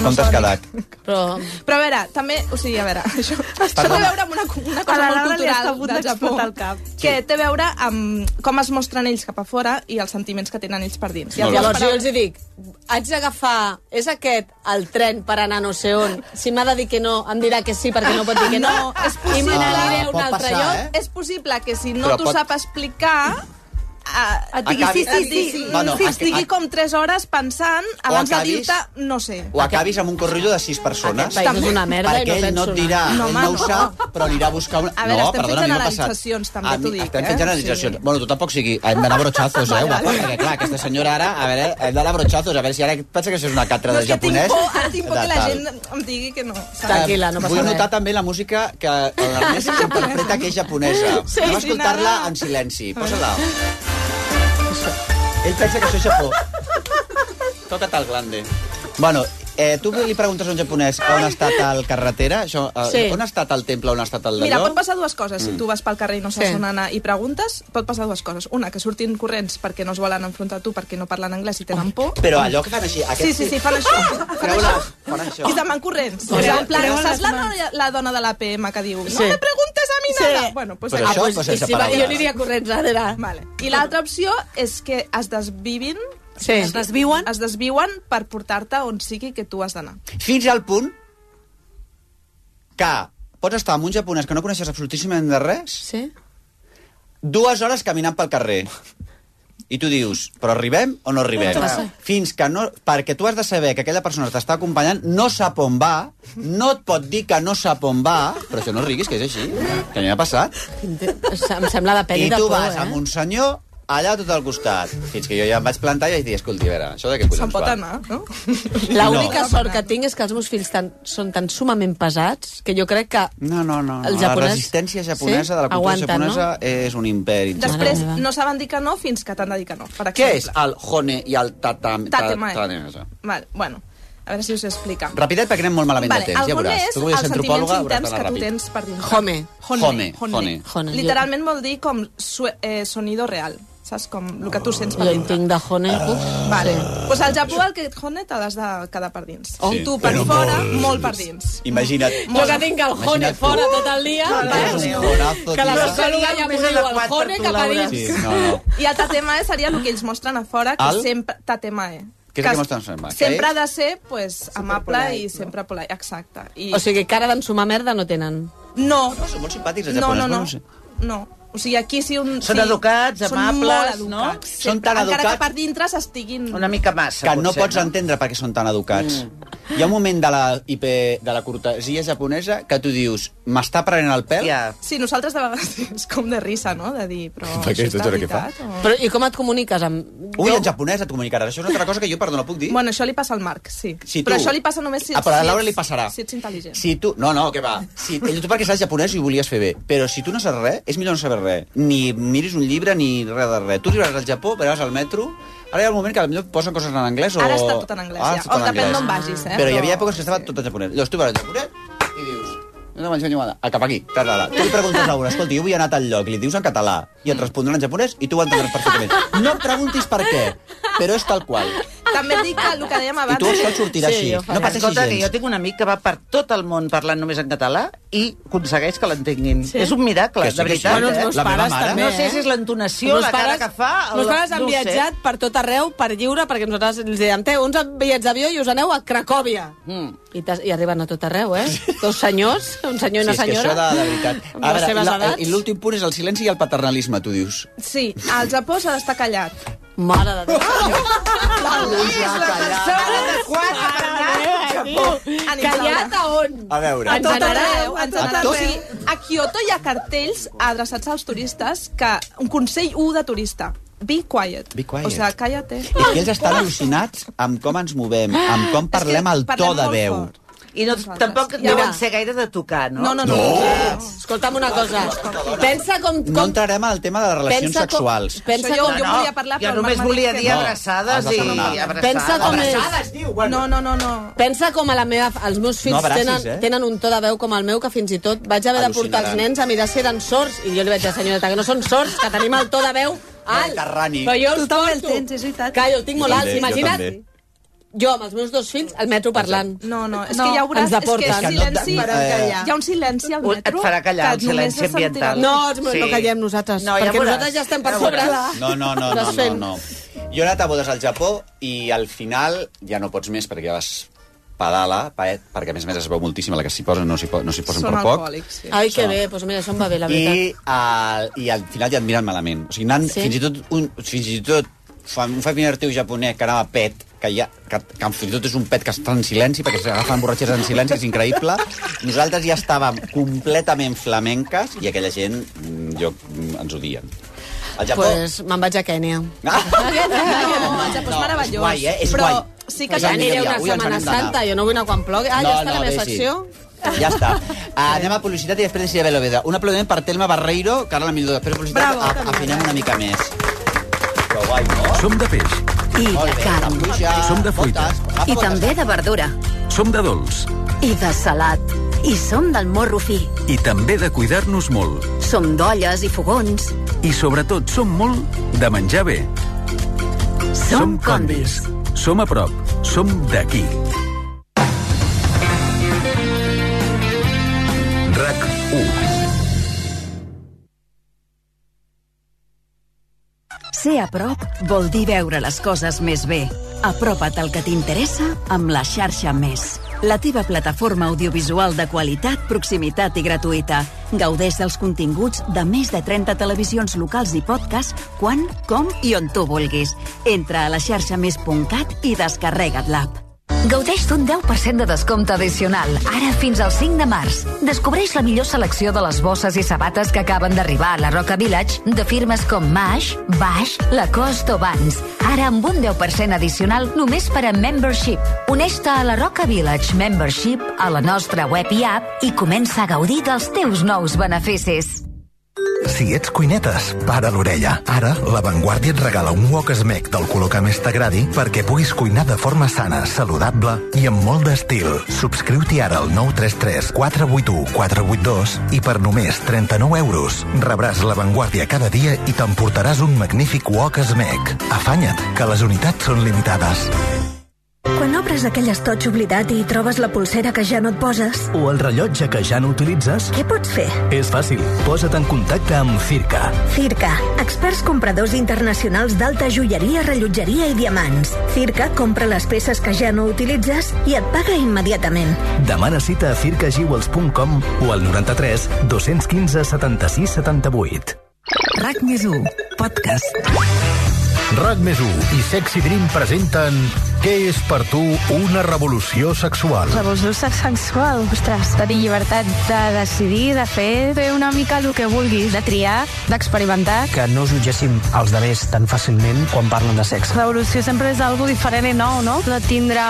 S13: Com t'has quedat?
S12: Però...
S17: Però a veure, també... O sigui, a veure, això, això té a
S13: Perdona.
S17: veure amb una, co- una
S21: A
S17: cosa
S21: la
S17: molt
S21: Laura li
S17: cultural
S21: està a punt
S17: del Japó.
S21: d'explotar el cap.
S17: Que té a veure amb com es mostren ells cap a fora i els sentiments que tenen ells per dins. I
S13: Molt bé.
S12: Llavors jo els hi dic, haig d'agafar, és aquest el tren per anar no sé on? Si m'ha de dir que no, em dirà que sí perquè no pot dir que no.
S17: No, és
S12: I me
S17: possible.
S12: n'aniré a un
S13: Pot
S12: altre
S13: passar,
S12: lloc.
S13: eh?
S17: és possible que si no
S13: Però
S17: t'ho
S13: pot-
S17: sap explicar... eh,
S21: Et digui
S13: Acabi-
S21: sí, sí,
S17: et
S21: sí.
S17: digui-
S13: sí. Bueno,
S17: sí,
S13: a-
S17: estigui
S13: a-
S17: com 3 hores pensant abans de
S13: acabis-
S17: dir-te no sé.
S13: Ho acabis amb un corrillo de sis
S12: Aquest
S13: persones?
S12: país és una merda i
S13: perquè
S12: no
S13: ell no
S12: penso
S13: et
S12: anar.
S13: dirà,
S17: No,
S13: ell
S17: home,
S13: no ho
S17: no.
S13: sap, però anirà a buscar... Una...
S17: A veure,
S13: no,
S17: estem
S13: perdona,
S17: fent
S13: a mi m'ha passat.
S17: generalitzacions, també
S13: A mi-
S17: t'ho dic,
S13: Estem
S17: eh?
S13: fent generalitzacions.
S17: Sí.
S13: Bueno, tu tampoc sigui... Hem d'anar a brotxazos, eh? Guapa, perquè clar, aquesta senyora ara... A veure, hem d'anar a brotxazos, a veure si ara pensa que això és una catra
S17: No,
S13: de
S17: és que tinc
S13: japonès.
S17: por, ara tinc por que
S13: de
S17: la
S13: tal.
S17: gent em digui que no. saps?
S12: Tranquil·la, no passa
S13: Vull notar
S12: res.
S13: també la música que l'Ernest interpreta, que és japonesa.
S17: Sí,
S13: Anem a
S17: sí,
S13: escoltar-la
S17: nada. Mm.
S13: en silenci. Posa-la. Ell pensa que això és Japó. Toca't el glande. Bueno, eh, tu li preguntes a un japonès on ha estat el carretera, això, eh,
S12: Sí.
S13: on ha estat el temple, on ha estat el
S17: Mira,
S13: d'allò...
S17: pot passar dues coses.
S13: Mm.
S17: Si tu vas pel carrer i no saps
S12: Sí.
S17: on anar i preguntes, pot passar dues coses. Una, que surtin corrents perquè no es volen enfrontar a tu, perquè no parlen anglès i tenen por.
S13: Però allò que fan així... Ah!
S17: Sí, sí, sí, fan això. Fan
S13: Treu-la,
S17: això.
S13: fan això.
S17: I se'n van corrents.
S13: Treu-
S17: O sigui, en plan,
S21: treuen
S17: saps
S21: les
S17: la, noia- la dona de l'APM que diu
S12: Sí.
S17: no me preguntes a mi
S12: Sí.
S17: nada? Bueno, pues
S13: Però
S17: aquí.
S13: això, però
S12: I
S13: sense
S12: si va, jo
S13: paraules.
S12: aniria corrents darrere.
S17: Vale. I l'altra opció és que es desvivin
S12: Sí.
S21: Es desviuen.
S17: es desviuen per portar-te on sigui que tu has d'anar.
S13: Fins al punt que pots estar amb un japonès que no coneixes absolutíssimament de res,
S12: Sí?
S13: dues hores caminant pel carrer. I tu dius, però arribem o no arribem?
S6: Clar.
S13: Fins que no... Perquè tu has de saber que aquella persona t'està acompanyant, no sap on va, no et pot dir que no sap on va, però això no riguis, que és així, que a mi m'ha passat.
S12: Em sembla de pel·li
S13: I
S12: de
S13: tu
S12: por,
S13: vas
S12: eh?
S13: amb un senyor allà tot al costat. Fins que jo ja em vaig plantar i vaig dir, escolti, a veure, això de què collons
S17: Se'n pot
S13: va?
S17: anar, no?
S12: L'única sort que tinc és que els meus fills tan, són tan sumament pesats que jo crec que
S13: no, no, no,
S12: el
S13: la
S12: japonès...
S13: resistència japonesa, de la cultura
S12: Aguanten,
S13: japonesa,
S12: No?
S13: és un imperi.
S17: Després no saben dir que no fins que t'han de dir que no. Per
S13: Què
S17: exemple.
S13: és el hone i el tatam... ta-
S17: Tatemae.
S13: tatamesa?
S17: Val, bueno, a veure si us explica.
S13: Rapidet, perquè anem molt malament
S17: Vale,
S13: de temps,
S17: el
S13: ja
S17: home
S13: veuràs.
S17: és
S13: Tu, que
S17: els
S13: ets
S17: sentiments
S13: antropòloga, hauràs
S17: interns que
S13: d'anar
S17: tu
S13: ràpid.
S17: tens per dintre.
S12: Home.
S13: Hone, hone.
S12: Hone, jo-
S17: Literalment vol dir com su eh, sonido real, saps? Com el que tu sents per
S12: Jo en
S17: dintre.
S12: tinc de Hone.
S13: Ah.
S12: Uf,
S17: Vale. Doncs pues al Japó el que et hone te l'has de quedar per dins.
S13: Oh, Sí,
S17: tu per
S13: però
S17: fora,
S13: molt.
S17: molt, per dins.
S13: Imagina't.
S12: Jo que tinc el Hone
S13: Imagina't tu.
S12: fora tot el dia, eh? que la psicòloga ja m'ho diu, el Hone cap a dins.
S13: Sí, no, no.
S17: I el tatemae seria el que ells mostren a fora, que
S13: El?
S17: sempre... Tatemae.
S13: Què és el que mostren sempre?
S17: Sempre ha
S13: Que
S17: de ser pues, amable i sempre polite, exacte. I...
S12: O sigui, cara d'ensumar merda no tenen.
S17: No.
S13: No, Ah, són molt simpàtics,
S17: els No, japonesos, no, no. no sé. No. O sigui, aquí sí... Un,
S14: Són
S17: sí,
S14: educats, amables,
S17: són
S14: no?
S17: molt educats,
S13: Són
S17: sempre,
S13: tan
S17: Encara
S13: educats-
S17: que per dintre s'estiguin...
S14: Una mica massa,
S13: que no
S14: potser,
S13: pots entendre per què són tan educats.
S17: Mm.
S13: Hi ha un moment de la, IP, de la cortesia japonesa que tu dius, m'està prenent el pèl? Yeah.
S17: Sí, nosaltres de vegades és com de risa, no? De dir, però...
S13: Per què?
S17: això és
S13: Això és el que
S17: veritat,
S13: fa?
S17: o-
S12: Però i com et comuniques amb...
S13: Ui, en japonès et comunicaràs. Això és una altra cosa que jo, perdó, no puc dir.
S17: Bueno, això li passa al Marc, sí.
S13: Si
S17: però
S13: tu-
S17: això li passa només si...
S13: Ah, però a la
S17: si
S13: Laura
S17: ets-
S13: li passarà.
S17: Si ets intel·ligent.
S13: Si tu... No, no, què va. Si, tu perquè saps japonès i ho volies fer bé. Però si tu no saps res, és millor no saber res. Ni miris un llibre ni res de res. Tu arribaràs al Japó, veuràs al metro... Ara hi ha el moment que potser posen coses en anglès o... Ah,
S17: Ara està tot en anglès, ja.
S13: està tot
S17: O
S13: en
S17: depèn
S13: anglès.
S17: d'on vagis, eh,
S13: Però hi
S17: però-
S13: havia èpoques que estava tot en japonès. Llavors tu vas al japonès i dius... No m'ensenyo nada. Ah, cap aquí. Ta, ta, ta. Tu li preguntes a un, escolta, jo vull anar a tal lloc, li dius en català, i et respondran en japonès i tu ho entendràs perfectament. No em preguntis per què, però és tal qual.
S17: També et dic que el que dèiem abans...
S13: tu això et sortirà Sí, així. jo faré. No pateixis
S14: Escolta,
S13: gens.
S14: que jo tinc un amic que va per tot el món parlant només en català i aconsegueix que l'entenguin.
S17: Sí?
S14: Sí? És un miracle,
S13: Que sí,
S14: de
S13: que sí.
S14: veritat.
S13: Bueno, els
S14: eh?
S13: meus La meva pares mare. també,
S14: No sé
S13: eh?
S14: si és l'entonació,
S12: Els
S14: la
S12: meus
S14: cara
S12: pares-
S14: que fa...
S12: Els meus
S14: la-
S12: pares han
S14: no ho sé.
S12: viatjat per tot arreu, per lliure, perquè nosaltres els dèiem, té, 11 bitllets d'avió i us aneu a Cracòvia. Mm. I, t'has- I arriben a tot arreu, eh? Dos senyors, un senyor i una
S13: sí, és que
S12: senyora.
S13: això de, de veritat.
S12: Amb les seves
S13: la-
S12: edats.
S13: I l'últim punt és el silenci i el paternalisme, tu dius.
S17: Sí, al Japó s'ha d'estar callat. Ah!
S12: Mare de Déu.
S14: És la persona adequada per anar al Japó.
S17: Callat a on?
S13: A veure.
S17: A tot arreu.
S13: A
S17: A, tot
S13: tot?
S17: arreu. Sí, a Kyoto hi ha cartells adreçats als turistes que... Un consell 1 de turista. Be quiet.
S13: Be quiet.
S17: O Ah! sigui, callate.
S13: I que ells estan al·lucinats amb com ens movem, amb com parlem el to
S17: parlem
S13: de veu.
S17: molt
S14: I no, tampoc
S12: Mira.
S14: deuen ser gaire de tocar, no?
S17: No, no, no.
S12: Escolta'm una cosa. Pensa com...
S13: No
S12: com...
S13: entrarem al tema de les relacions
S12: Pensa com-
S13: sexuals.
S12: pensa
S17: Això jo-
S12: com-
S17: jo
S12: no,
S17: volia parlar,
S14: jo
S17: però el
S14: només
S17: Marc m'ha dit
S14: volia
S17: que
S14: dir
S17: no.
S14: abraçades
S13: has de
S14: i-
S13: perdonar.
S14: abraçades.
S12: Pensa com és.
S14: Abraçades, diu, bueno.
S17: No, no, no, no.
S12: Pensa com a la meva, els meus fills
S13: No abracis,
S12: tenen,
S13: eh?
S12: tenen un to de veu com el meu que fins i tot vaig haver de portar els
S13: Al·lucinaran.
S12: nens a mirar si eren sords i jo li vaig dir, senyoreta, que no són sords, que tenim el to de veu alt.
S13: Mediterrani.
S12: Però jo els
S22: Tothom el
S12: porto.
S22: tens, és veritat.
S12: Callo, el tinc molt
S13: Jo
S12: alt.
S13: també, jo
S12: Imagina't
S13: també.
S12: jo amb els meus dos fills al metro parlant.
S17: No, no, és
S12: No,
S17: que ja ho veuràs,
S12: ens
S17: és que
S12: deporten.
S17: el
S12: És que
S13: no et eh,
S17: silenci...
S13: faran callar.
S17: Hi ha un silenci al
S14: Un- et
S17: metro...
S14: farà callar,
S17: que
S14: el
S17: només
S14: silenci
S17: se sentirà.
S14: ambiental.
S12: No, els meus
S14: Sí.
S12: no callem nosaltres,
S14: No, ja
S12: perquè
S14: veuràs.
S12: nosaltres ja estem per
S14: Ja
S12: sobre.
S14: veuràs.
S13: No, no, no, no,
S12: Estàs
S13: no,
S12: fent.
S13: no. Jo he anat a bodes al Japó i al final ja no pots més perquè ja vas pedala, paet, perquè a més a més es veu moltíssim, a la que s'hi posen no s'hi po no s'hi posen
S17: Són
S13: per poc.
S17: alcohòlics, sí.
S12: Ai, que bé, doncs mira, això em va bé, la veritat.
S13: I, al, i al final ja et miren malament. O sigui, anant,
S12: Sí?
S13: sí? fins i tot un, fins i tot fa- un familiar teu japonès que anava pet, que, ja, que, que fins i tot és un pet que està en silenci, perquè s'agafen borratxes en silenci, és increïble. Nosaltres ja estàvem completament flamenques i aquella gent, mm, jo, mm, ens odien. Al
S12: Doncs
S13: Japó...
S12: pues me'n vaig a Kènia. doncs
S13: Ah!
S17: No, el Japó és meravellós.
S13: és guai, eh? És
S17: però
S13: guai.
S17: sí que
S13: Pues
S12: Ja
S17: ja
S12: aniré
S13: anireu
S12: una
S13: avui ens
S12: Setmana
S13: n'hem d'anar.
S12: Santa, jo no vull anar quan plogui. Ah, ja està la meva
S13: Desi.
S12: secció.
S13: Ja està. Ah, anem a publicitat i després decidirem l'Oveda. Un aplaudiment per Telma Barreiro, que ara la millor després de publicitat
S22: Bravo,
S13: a- afinem una mica més. Però guai, no?
S23: Som de peix.
S21: I de
S13: Molt bé,
S21: carn.
S13: la pluja,
S23: Som de fruita.
S13: botes,
S21: I també de verdura.
S23: Som de dolç.
S21: I de salat. I som del morro fi.
S23: I també de cuidar-nos molt.
S21: Som d'olles i fogons.
S23: I sobretot som molt de menjar bé.
S21: Som
S23: Condis. Som a prop. Som d'aquí. RAC 1.
S21: Ser a prop vol dir veure les coses més bé. Apropa't al que t'interessa amb la xarxa Més.
S24: la teva plataforma audiovisual de qualitat, proximitat i gratuïta. Gaudeix dels continguts de més de 30 televisions locals i podcast quan, com i on tu vulguis. Entra a la xarxa més.cat i descarrega't l'app.
S21: Gaudeix d'un 10% de descompte addicional, ara fins al 5 de març. Descobreix la millor selecció de les bosses i sabates que acaben d'arribar a la Roca Village de firmes com Mash, Bash, Lacoste o Vans. Ara amb un 10% addicional només per a Membership. Uneix-te a la Roca Village Membership a la nostra web i app i comença a gaudir dels teus nous beneficis.
S23: Si ets cuinetes, para l'orella. Ara, La Vanguardia et regala un wok esmec del color que més t'agradi perquè puguis cuinar de forma sana, saludable i amb molt d'estil. Subscriu-t'hi ara al 933 481 482 i per només 39 euros rebràs La Vanguardia cada dia i t'emportaràs un magnífic wok esmec. Afanya't, que les unitats són limitades.
S25: Quan obres aquell estoig oblidat i hi trobes la pulsera que ja no et poses,
S26: o el rellotge que ja no utilitzes?
S25: què pots fer?
S26: És fàcil. Posa't en contacte amb Circa.
S25: Circa, experts compradors internacionals d'alta joieria, rellotgeria i diamants. Circa compra les peces que ja no utilitzes i et paga immediatament.
S26: Demana cita a circajewels.com o al 93 215 76 78.
S24: RAC més 1, podcast.
S16: RAC més 1 i Sexy Dream presenten Què és per tu una revolució sexual?
S27: Revolució sexual. Ostres, tenir llibertat de decidir, de fer, fer una mica el que vulguis, de triar, d'experimentar.
S2: que no jutgéssim els demés tan fàcilment quan parlen de sexe.
S27: Revolució sempre és algo diferent i nou, no? De tindre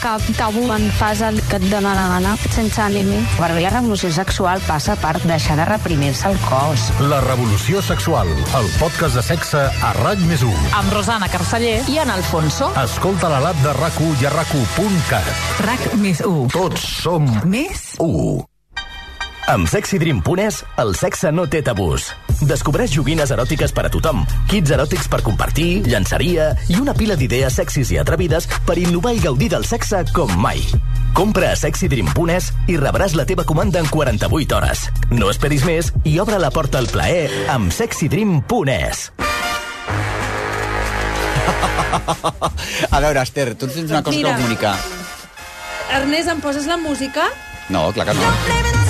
S27: cap tabú quan fas el que et dona la gana, sense límit.
S28: Per mi la revolució sexual passa per deixar de reprimir-se el cos.
S16: La revolució sexual, el podcast de sexe a RAC més 1.
S28: Amb Rosana Carceller i en Alfonso.
S16: Escolta la lab de RAC1 i a RAC1.cat.
S28: RAC més 1.
S16: Tots som
S28: més
S16: 1.
S26: Amb Sexy Dream Punes, el sexe no té tabús. Descobreix joguines eròtiques per a tothom, kits eròtics per compartir, llançaria i una pila d'idees sexis i atrevides per innovar i gaudir del sexe com mai. Compra a Sexy Dream Punes i rebràs la teva comanda en 48 hores. No esperis més i obre la porta al plaer amb Sexy Dream Punes.
S13: A veure, Esther, tu tens una cosa
S17: Mira.
S13: que comunicar.
S17: Ernest, em poses la música?
S13: No, clar que no.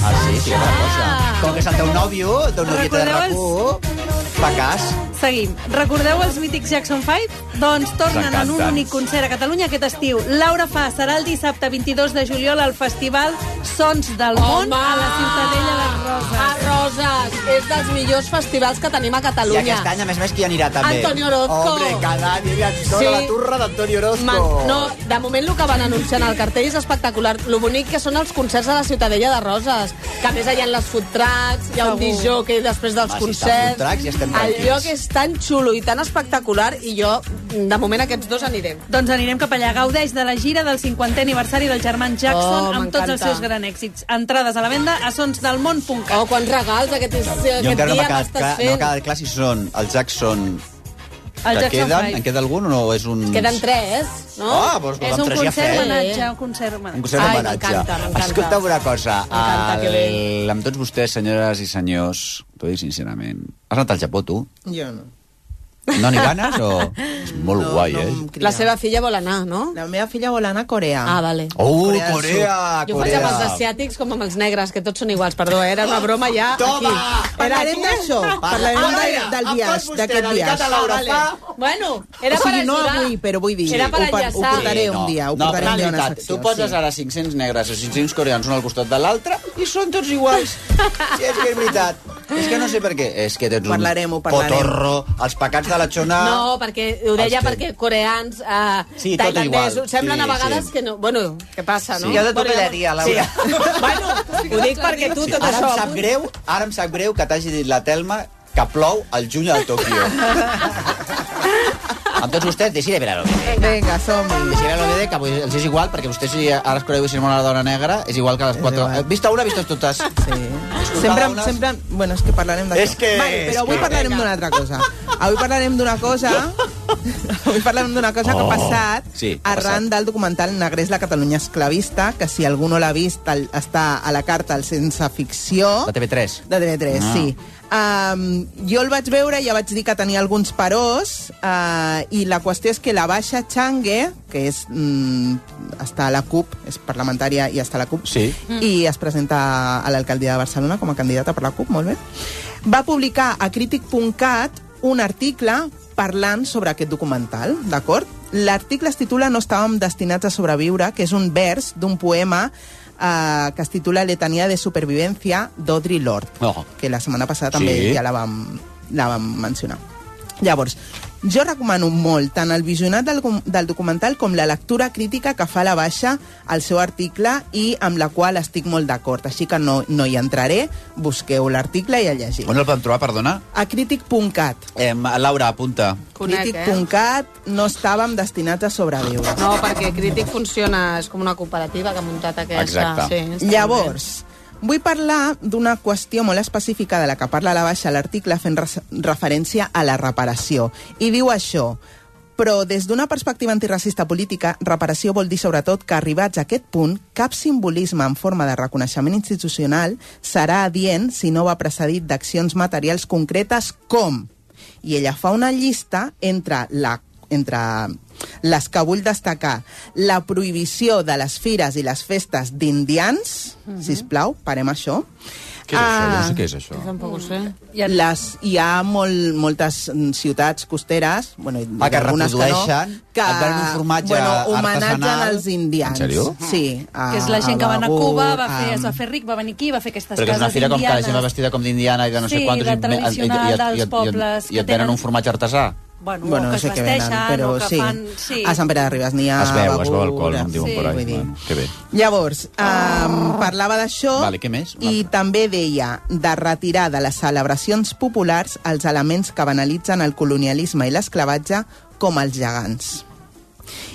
S13: Ah, sí, sí, que la cosa. Com que és el teu nòvio, el teu novieta de
S17: Recordeu
S13: RAC1, fa cas.
S17: Seguim. Recordeu els mítics Jackson 5? Doncs tornen en un
S13: encanten.
S17: únic concert a Catalunya aquest estiu. Laura Fa serà el dissabte 22 de juliol al Festival Sons del Món a la Ciutadella de Roses.
S12: A Roses. És dels millors festivals que tenim a
S13: I
S12: Catalunya.
S13: aquest any, a més a més, qui anirà també?
S12: Antonio Orozco.
S13: Hombre, cada any anirà tota
S12: Sí.
S13: la turra d'Antonio Orozco.
S12: Man, no, de moment el que van anunciant al cartell és espectacular. Lo bonic que són els concerts a la Ciutadella de Roses, que a més allà hi ha les food trucks, hi ha un
S13: Segur.
S12: dijó que després dels
S13: Va, si està
S12: concerts...
S13: food trucks, ja estem
S12: el
S13: tranquils.
S12: lloc és tan xulo i tan espectacular i jo, de moment, aquests dos anirem.
S17: Doncs anirem cap allà. Gaudeix de la gira del 50è aniversari del germà Jackson
S12: Oh,
S17: amb tots els
S12: m'encanta.
S17: seus grans èxits. Entrades a la venda a sonsdelmón.cat.
S12: Oh, quants regals aquest, és,
S13: Jo
S12: aquest
S13: encara no m'ha
S12: dia
S13: quedat,
S12: m'estàs
S13: clar, no m'ha
S12: fent.
S13: quedat clar si són el Jackson
S17: El
S13: que
S17: Jackson
S13: queden,
S17: Five.
S13: en queda algun o no? És un...
S12: Queden tres, no?
S13: Ah, doncs
S17: és un
S13: nosaltres ja
S17: concert
S13: fem.
S17: homenatge, un concert homenatge.
S13: Un concert
S17: m'encanta,
S13: d'homenatge.
S17: m'encanta.
S13: Escolta'm una cosa.
S17: M'encanta, que
S13: El... Amb tots vostès, senyores i senyors, t'ho dic sincerament. Has anat al Japó, tu?
S18: Jo no.
S13: No ni ganes o...? És molt no, guai, no, eh?
S12: La seva filla vol anar, no?
S18: La meva filla vol anar a Corea.
S12: Ah, vale.
S13: Oh,
S18: Corea del
S13: Corea, Corea!
S12: Jo ho faig amb els asiàtics com amb els negres, que tots són iguals. Perdó, eh? era una broma ja aquí.
S18: Parlarem d'això, parlarem
S12: Ah,
S18: del,
S12: vale.
S18: del
S12: Em
S18: viatge,
S12: pot vostè
S18: d'aquest
S12: dedicar
S18: viatge.
S12: a Laura Fa? Ah, Bueno, era
S18: o sigui,
S12: per
S18: no
S12: ajudar.
S18: avui, però vull dir,
S12: Era per
S18: ho, par- ho
S12: enllaçar.
S18: portaré un dia, ho
S13: no,
S18: portaré
S13: però
S18: un
S13: la
S18: dia a una
S13: veritat,
S18: secció.
S13: tu poses
S18: sí.
S13: ara 500 negres o 500 coreans un al costat de l'altre i són tots iguals. Sí, és que és veritat. És que no sé per què. És que tens un
S18: Parlarem, ho parlarem.
S13: potorro, els pecats de la xona...
S12: No, perquè ho deia
S13: Els que-
S12: perquè coreans, eh,
S13: Sí, tot
S12: tailandesos,
S13: igual.
S12: semblen
S13: Sí,
S12: a vegades
S13: sí.
S12: que no... Bueno, què passa, no?
S13: Sí, jo de tu pedaria, Laura.
S12: Sí. bueno, ho dic perquè tu tot
S13: ara
S12: això...
S13: Em sap greu, ara em sap greu que t'hagi dit la Telma que plou al juny a Tòquio. Amb tots vostès, deixi de veure-ho.
S18: Vinga, som-hi.
S13: Deixi de veure que avui els és igual, perquè vostès si ara es coneu i si una dona negra, és igual que les quatre... Eh, Vista una, vistes totes. Sí.
S18: Sempre, sempre... Bueno, és que parlarem d'això.
S13: És que-
S18: Vale,
S13: és
S18: però avui
S13: que-
S18: parlarem d'una altra cosa. Avui parlarem d'una cosa Avui parlem d'una cosa que
S13: Oh.
S18: ha passat
S13: Sí, ha
S18: arran del documental Negrés la Catalunya esclavista, que si algú no l'ha vist el- està a la carta al Sense Ficció.
S13: De TV3.
S18: De TV3,
S13: Ah.
S18: sí. Um, jo el vaig veure i ja vaig dir que tenia alguns parors uh, i la qüestió és que la Baixa Changue, que és mm, està a la CUP, és parlamentària i està a la CUP,
S13: Sí.
S18: i es presenta a l'alcaldia de Barcelona com a candidata per la CUP, molt bé, va publicar a crític.cat un article parlant sobre aquest documental, d'acord? L'article es titula No estàvem destinats a sobreviure, que és un vers d'un poema eh, que es titula Letania de supervivència d'Audre Lorde
S13: No.
S18: que la setmana passada també
S13: Sí.
S18: ja la vam, la vam mencionar. Llavors, jo recomano molt tant el visionat del, com- del documental com la lectura crítica que fa la baixa al seu article i amb la qual estic molt d'acord, així que no, no hi entraré, busqueu l'article i el llegiu.
S13: On el podem trobar, perdona?
S18: A crític.cat.
S13: Eh, Laura, apunta.
S12: Conec, eh?
S18: Crític.cat no estàvem destinats a sobreviure.
S12: No, perquè Crític funciona, és com una cooperativa que ha muntat aquesta. Sí, està
S18: Llavors, vull parlar d'una qüestió molt específica de la que parla la baixa a l'article fent res- referència a la reparació. I diu això, però des d'una perspectiva antiracista política, reparació vol dir sobretot que arribats a aquest punt, cap simbolisme en forma de reconeixement institucional serà adient si no va precedit d'accions materials concretes com... I ella fa una llista entre la entre les que vull destacar la prohibició de les fires i les festes d'indians, uh -huh. sisplau, parem això.
S13: Mhm.
S18: Ah,
S13: Què és això? Jo no sé què és això.
S12: bé. Ah. Tampoc ho sé.
S18: Les, hi ha molt, moltes mm, ciutats costeres, bueno, i
S13: Ah, que
S18: algunes
S13: reprodueixen,
S18: no, que
S13: et donen un formatge
S18: bueno, homenatgen
S13: artesanal.
S18: als indians.
S13: En sèrio?
S18: Sí. A,
S17: que és la gent
S21: Ah,
S17: que va anar a
S18: Begur,
S17: Cuba, va
S18: a-
S17: fer, es va fer ric, va venir aquí, va fer aquestes
S13: Però que és una
S17: cases
S13: fira com que la gent va
S17: indianes.
S13: vestida com d'indiana i de no sé
S17: Sí,
S13: quantos...
S17: la
S13: i et- i et- i et-
S17: tradicional
S13: i et-
S17: dels
S13: i et-
S17: pobles
S13: I
S17: que
S13: et venen
S17: tenen-
S13: un formatge artesà.
S17: Bueno,
S18: bueno,
S17: o
S18: no
S17: que
S18: sé
S17: es
S18: què venen,
S17: vesteixen,
S18: però
S17: o que
S18: sí.
S17: fan... Sí.
S18: A Sant Pere de Ribes n'hi ha...
S13: es veu, es veu
S18: begur,
S13: el col, em diuen
S18: sí.
S13: por
S18: Vull
S13: ahí.
S18: dir,
S13: Bueno, que bé.
S18: Llavors, um,
S17: Oh.
S18: parlava d'això
S13: Vale, què més?
S18: i també deia de retirar de les celebracions populars els elements que banalitzen el colonialisme i l'esclavatge com els gegants.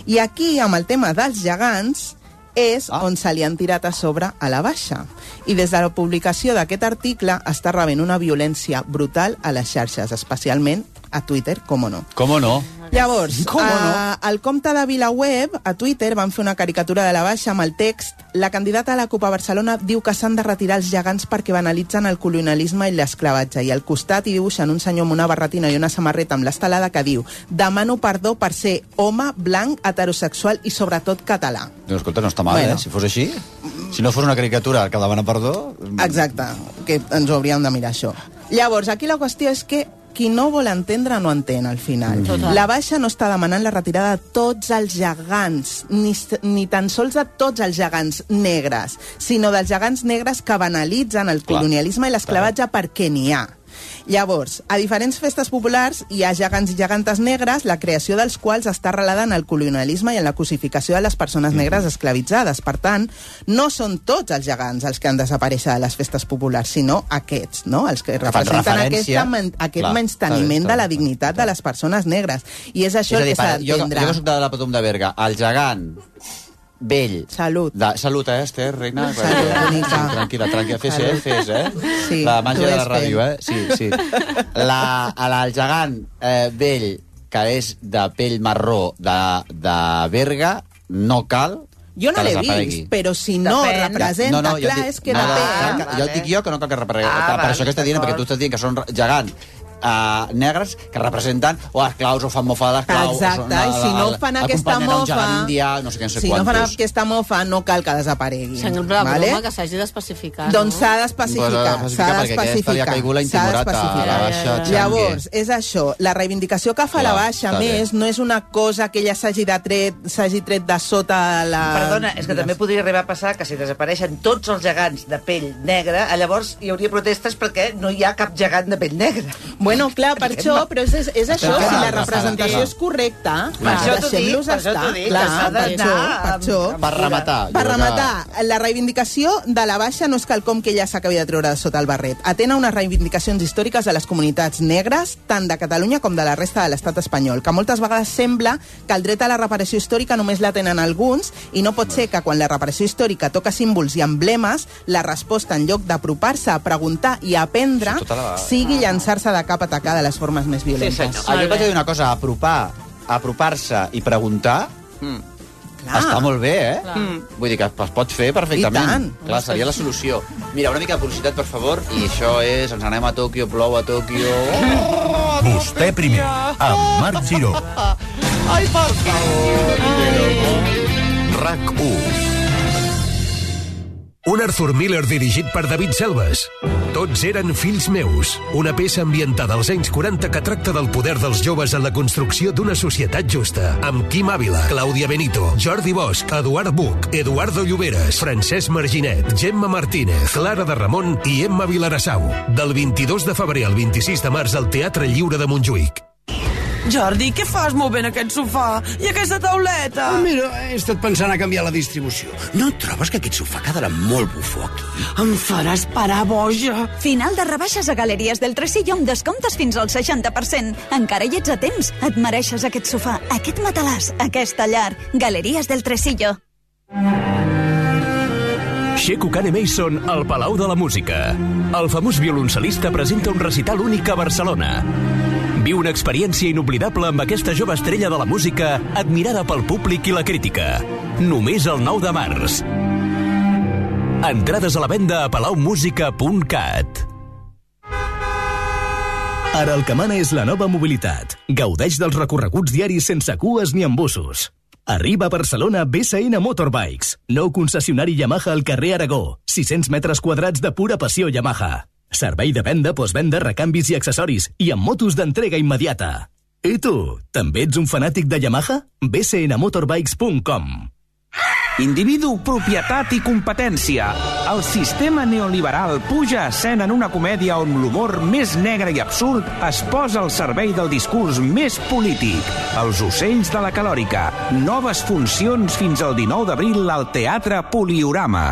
S18: I aquí, amb el tema dels gegants, és ah. on se li han tirat a sobre a la baixa. I des de la publicació d'aquest article està rebent una violència brutal a les xarxes, especialment a Twitter, com o no.
S13: Com no?
S18: Llavors,
S13: Com
S18: a, al compte de VilaWeb, a Twitter, van fer una caricatura de la baixa amb el text la candidata a la Copa Barcelona diu que s'han de retirar els gegants perquè banalitzen el colonialisme i l'esclavatge. I al costat hi dibuixen un senyor amb una barretina i una samarreta amb l'estelada que diu demano perdó per ser home, blanc, heterosexual i sobretot català.
S13: Doncs escolta, no està mal,
S18: Bueno.
S13: eh? Si fos així... Si no fos una caricatura que demana perdó...
S18: Exacte, que ens ho hauríem de mirar això. Llavors, aquí la qüestió és que qui no vol entendre no entén al final.
S1: Mm. Total.
S18: La Baixa no està demanant la retirada de tots els gegants, ni, s- ni tan sols de tots els gegants negres, sinó dels gegants negres que banalitzen el
S1: Clar.
S18: colonialisme i l'esclavatge perquè n'hi ha. Llavors, a diferents festes populars hi ha gegants i gegantes negres, la creació dels quals està arrelada en el colonialisme i en la cosificació de les persones
S1: Mm.
S18: negres esclavitzades. Per tant, no són tots els gegants els que han desapareixer de les festes populars, sinó aquests, no? els que
S13: fan
S18: representen
S13: referència.
S18: aquesta, men- aquest
S13: Clar,
S18: Clar,
S13: està bé,
S18: menysteniment
S13: està
S18: de la dignitat de les persones negres. I és això
S13: és a
S18: el
S13: dir,
S18: que s'ha
S13: per- jo,
S18: d'entendre.
S13: jo que soc de la Patum de Berga, el gegant vell...
S18: Salut.
S13: De, salut, eh, Esther, reina?
S18: Salut, bonica.
S13: Sí, tranquil·la, tranquil·la. Fes, eh,
S18: Salut.
S13: fes, eh?
S18: Sí,
S13: la màgia
S18: tu
S13: de la
S18: és
S13: ràdio,
S18: vell.
S13: eh? Sí, sí. La, a la, el gegant eh, vell, que és de pell marró de, de Berga, no cal
S18: Jo no
S13: que
S18: l'he
S13: desaparegui.
S18: vist, però si no
S13: Depèn.
S18: representa,
S13: No, no, jo
S18: clar,
S13: dic-
S18: és que
S13: no, no,
S18: depèn.
S13: clar, Jo et dic jo que no cal que repareu.
S18: Ah,
S13: per, per
S18: val,
S13: això que està dient, perquè tu estàs dient que són re- gegants uh, negres que representen o esclaus o fan mofa de l'esclau. o són
S18: Exacte,
S13: la-
S18: i
S13: la-
S18: si no
S13: la-
S18: fan aquesta
S13: acompanyen a un gegant
S18: mofa-
S13: Indià, no sé què, no sé
S18: Si no fan
S13: quantos.
S18: aquesta mofa, no cal que desaparegui.
S12: Sembla vale? broma que s'hagi d'especificar.
S18: Doncs
S12: no?
S18: s'ha d'especificar,
S13: Pues
S18: s'ha
S13: ha d'especificar, perquè aquesta li ha
S18: d'especificar.
S13: caigut la
S18: s'ha
S13: intimorata,
S18: d'especificar.
S13: la baixa Xangue.
S18: Llavors, és això, la reivindicació que fa
S13: Clar,
S18: la baixa,
S13: està
S18: a
S13: bé.
S18: més, no és una cosa que ella s'hagi de tret, s'hagi tret de sota la...
S13: Ah,
S14: Perdona, és que també podria arribar a passar que si desapareixen tots els gegants de pell negra, llavors hi hauria protestes perquè no hi ha cap gegant de pell negra.
S18: Bueno, clar, per això, però és, és, és això,
S14: fent
S18: si la
S14: altra
S18: representació
S14: parada.
S18: és correcta,
S14: Per això t'ho dic,
S18: deixem-los
S14: per això
S18: estar.
S14: t'ho dic,
S18: clar,
S14: que s'ha
S18: per
S14: d'anar
S18: això, per això.
S13: Per rematar, jo
S18: Per
S13: crec que-
S18: rematar, la reivindicació de la baixa no és quelcom que ella s'acabi de treure de sota el barret. Atén a unes reivindicacions històriques de les comunitats negres, tant de Catalunya com de la resta de l'estat espanyol, que moltes vegades sembla que el dret a la reparació històrica només la tenen alguns i no pot ser que quan la reparació històrica toca símbols i emblemes, la resposta en lloc d'apropar-se a preguntar i a aprendre
S13: Això tota la-
S18: sigui llançar-se de cap a atacar de les formes més violentes.
S13: Ah, jo vaig dir una cosa, apropar apropar-se i preguntar Clar. Està molt bé, eh?
S18: Clar.
S13: Mm. Vull dir que es pot fer perfectament.
S18: I tant.
S13: Clar, seria la solució. Mira, una mica de publicitat, per favor, i això és... Ens anem a Tòquio, plou a Tòquio...
S16: Vostè primer, amb Marc Giró.
S13: Ai, per
S16: RAC 1.
S23: Un Arthur Miller dirigit per David Selves. Tots eren fills meus. Una peça ambientada als anys 40 que tracta del poder dels joves en la construcció d'una societat justa. Amb Quim Ávila, Clàudia Benito, Jordi Bosch, Eduard Buch, Eduardo Lloberes, Francesc Marginet, Gemma Martínez, Clara de Ramon i Emma Vilarassau. Del 22 de febrer al 26 de març al Teatre Lliure de Montjuïc.
S3: Jordi, què fas movent aquest sofà i aquesta tauleta?
S29: Ah, mira, he estat pensant a canviar la distribució. No trobes que aquest sofà quedarà molt bufó aquí?
S3: Em faràs parar boja.
S26: Final de rebaixes a Galeries del Tresillo amb descomptes fins al 60%. Encara hi ets a temps. Et mereixes aquest sofà, aquest matalàs, aquesta llar. Galeries del Tresillo.
S30: Sheku Kane Mason al Palau de la Música. El famós violoncel·lista presenta un recital únic a Barcelona. Viu una experiència inoblidable amb aquesta jove estrella de la música admirada pel públic i la crítica. Només el 9 de març. Entrades a la venda a palaumusica.cat.
S26: Ara el que mana és la nova mobilitat. Gaudeix dels recorreguts diaris sense cues ni embussos. Arriba a Barcelona BSN Motorbikes, nou concessionari Yamaha al carrer Aragó, 600 metres quadrats de pura passió Yamaha. Servei de venda, postvenda, recanvis i accessoris i amb motos d'entrega immediata. I tu, també ets un fanàtic de Yamaha? bsnmotorbikes.com
S31: Individu, propietat i competència. El sistema neoliberal puja a escena en una comèdia on l'humor més negre i absurd es posa al servei del discurs més polític. Els ocells de la calòrica. Noves funcions fins al 19 d'abril al Teatre Poliorama.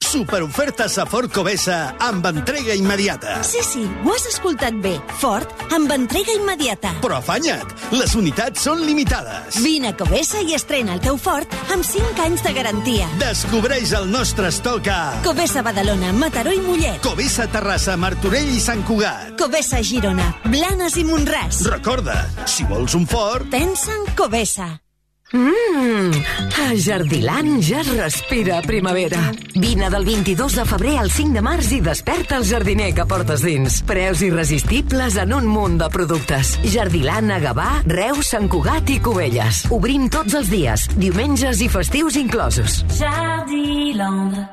S2: Superofertes a Ford Covesa amb entrega immediata.
S32: Sí, sí, ho has escoltat bé. Ford, amb entrega immediata.
S2: Però afanya't, les unitats són limitades.
S32: Vine a Covesa i estrena el teu Ford amb 5 anys de garantia.
S2: Descobreix el nostre estoc a...
S32: Covesa Badalona, Mataró i Mollet.
S2: Covesa Terrassa, Martorell i Sant Cugat.
S32: Covesa Girona, Blanes i Montràs.
S2: Recorda, si vols un Ford...
S32: Pensa en Covesa.
S21: Mmm, a Jardiland ja es respira primavera. Vine del 22 de febrer al 5 de març i desperta el jardiner que portes dins. Preus irresistibles en un munt de productes. Jardiland a Gavà, Reus, Sant Cugat i Cubelles. Obrim tots els dies, diumenges i festius inclosos.
S32: Jardiland.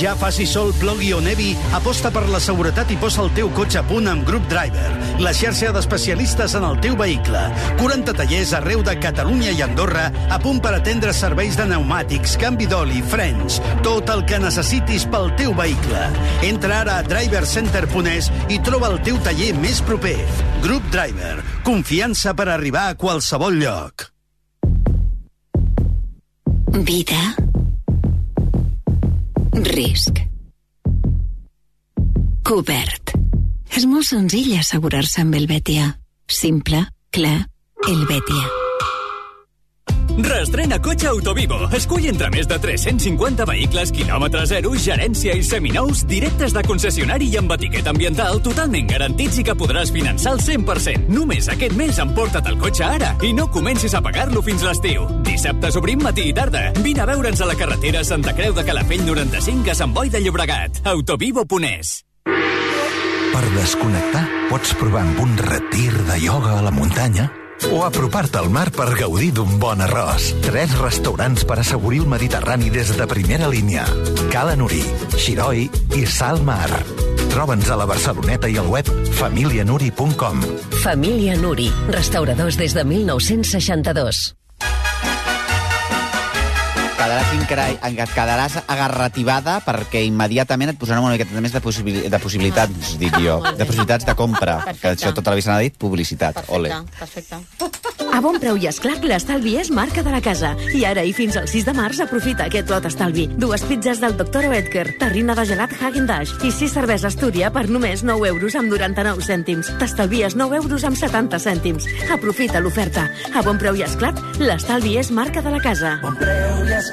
S2: Ja faci sol, plogui o nevi, aposta per la seguretat i posa el teu cotxe a punt amb Group Driver, la xarxa d'especialistes en el teu vehicle. 40 tallers arreu de Catalunya i Andorra a punt per atendre serveis de pneumàtics, canvi d'oli, frens, tot el que necessitis pel teu vehicle. Entra ara a drivercenter.es i troba el teu taller més proper. Group Driver, confiança per arribar a qualsevol lloc.
S32: Vida. Risc. Cobert. És molt senzill assegurar-se amb el Betia. Simple, clar, el Betia.
S20: Restrena cotxe Autovivo. Escull entre més de 350 vehicles, quilòmetre zero, gerència i seminous, directes de concessionari i amb etiqueta ambiental totalment garantits i que podràs finançar al 100%. Només aquest mes emporta't el cotxe ara i no comencis a pagar-lo fins l'estiu. Dissabtes obrim matí i tarda. Vine a veure'ns a la carretera Santa Creu de Calafell 95 a Sant Boi de Llobregat. Autovivo Ponés.
S16: Per desconnectar, pots provar amb un retir de ioga a la muntanya o apropar-te al mar per gaudir d'un bon arròs. Tres restaurants per assegurir el Mediterrani des de primera línia. Cala Nuri, Xiroi i Salmar. Troba'ns a la Barceloneta i al web familianuri.com.
S21: Família Nuri, restauradors des de 1962.
S13: Quedaràs, incrai, quedaràs agarrativada perquè immediatament et posaran una miqueta més de, possibil, de possibilitats, dic jo, de possibilitats de compra. Que això tota la vida se n'ha dit publicitat. Ole.
S33: Perfecte.
S10: A bon preu i esclat, l'estalvi és marca de la casa. I ara i fins al 6 de març aprofita aquest lot estalvi. Dues pizzas del Dr. Oetker, terrina de gelat Hagen Dash i sis cerveses Túria per només 9 euros amb 99 cèntims. T'estalvies 9 euros amb 70 cèntims. Aprofita l'oferta. A bon preu i esclat, l'estalvi és marca de la casa. Bon preu i esclat.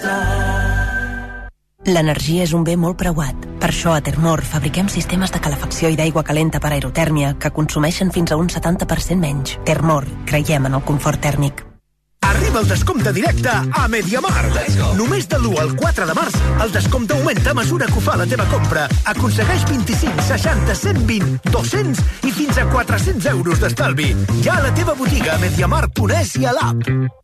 S21: L'energia és un bé molt preuat. Per això a Termor fabriquem sistemes de calefacció i d'aigua calenta per aerotèrmia que consumeixen fins a un 70% menys. Termor, creiem en el confort tèrmic.
S2: Arriba el descompte directe a Mediamar. Només de l'1 al 4 de març, el descompte augmenta a mesura que ho fa la teva compra. Aconsegueix 25, 60, 120, 200 i fins a 400 euros d'estalvi. Ja a la teva botiga a Mediamar.es i a l'app.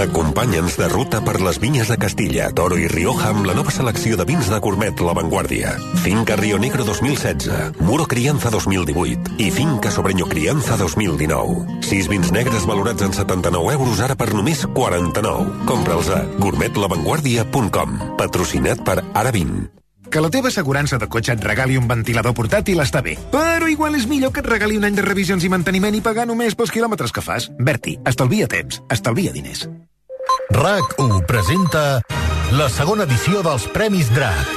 S5: Acompanya'ns de ruta per les vinyes de Castilla, Toro i Rioja amb la nova selecció de vins de gourmet La Vanguardia. Finca Rio Negro 2016, Muro Crianza 2018 i Finca Sobreño Crianza 2019. Sis vins negres valorats en 79 euros ara per només 49. Compra'ls a gourmetlavanguardia.com. Patrocinat per Aravin.
S23: Que la teva assegurança de cotxe et regali un ventilador portàtil està bé, però igual és millor que et regali un any de revisions i manteniment i pagar només pels quilòmetres que fas. Berti, estalvia temps, estalvia diners.
S16: RAC1 presenta la segona edició dels Premis DRAC.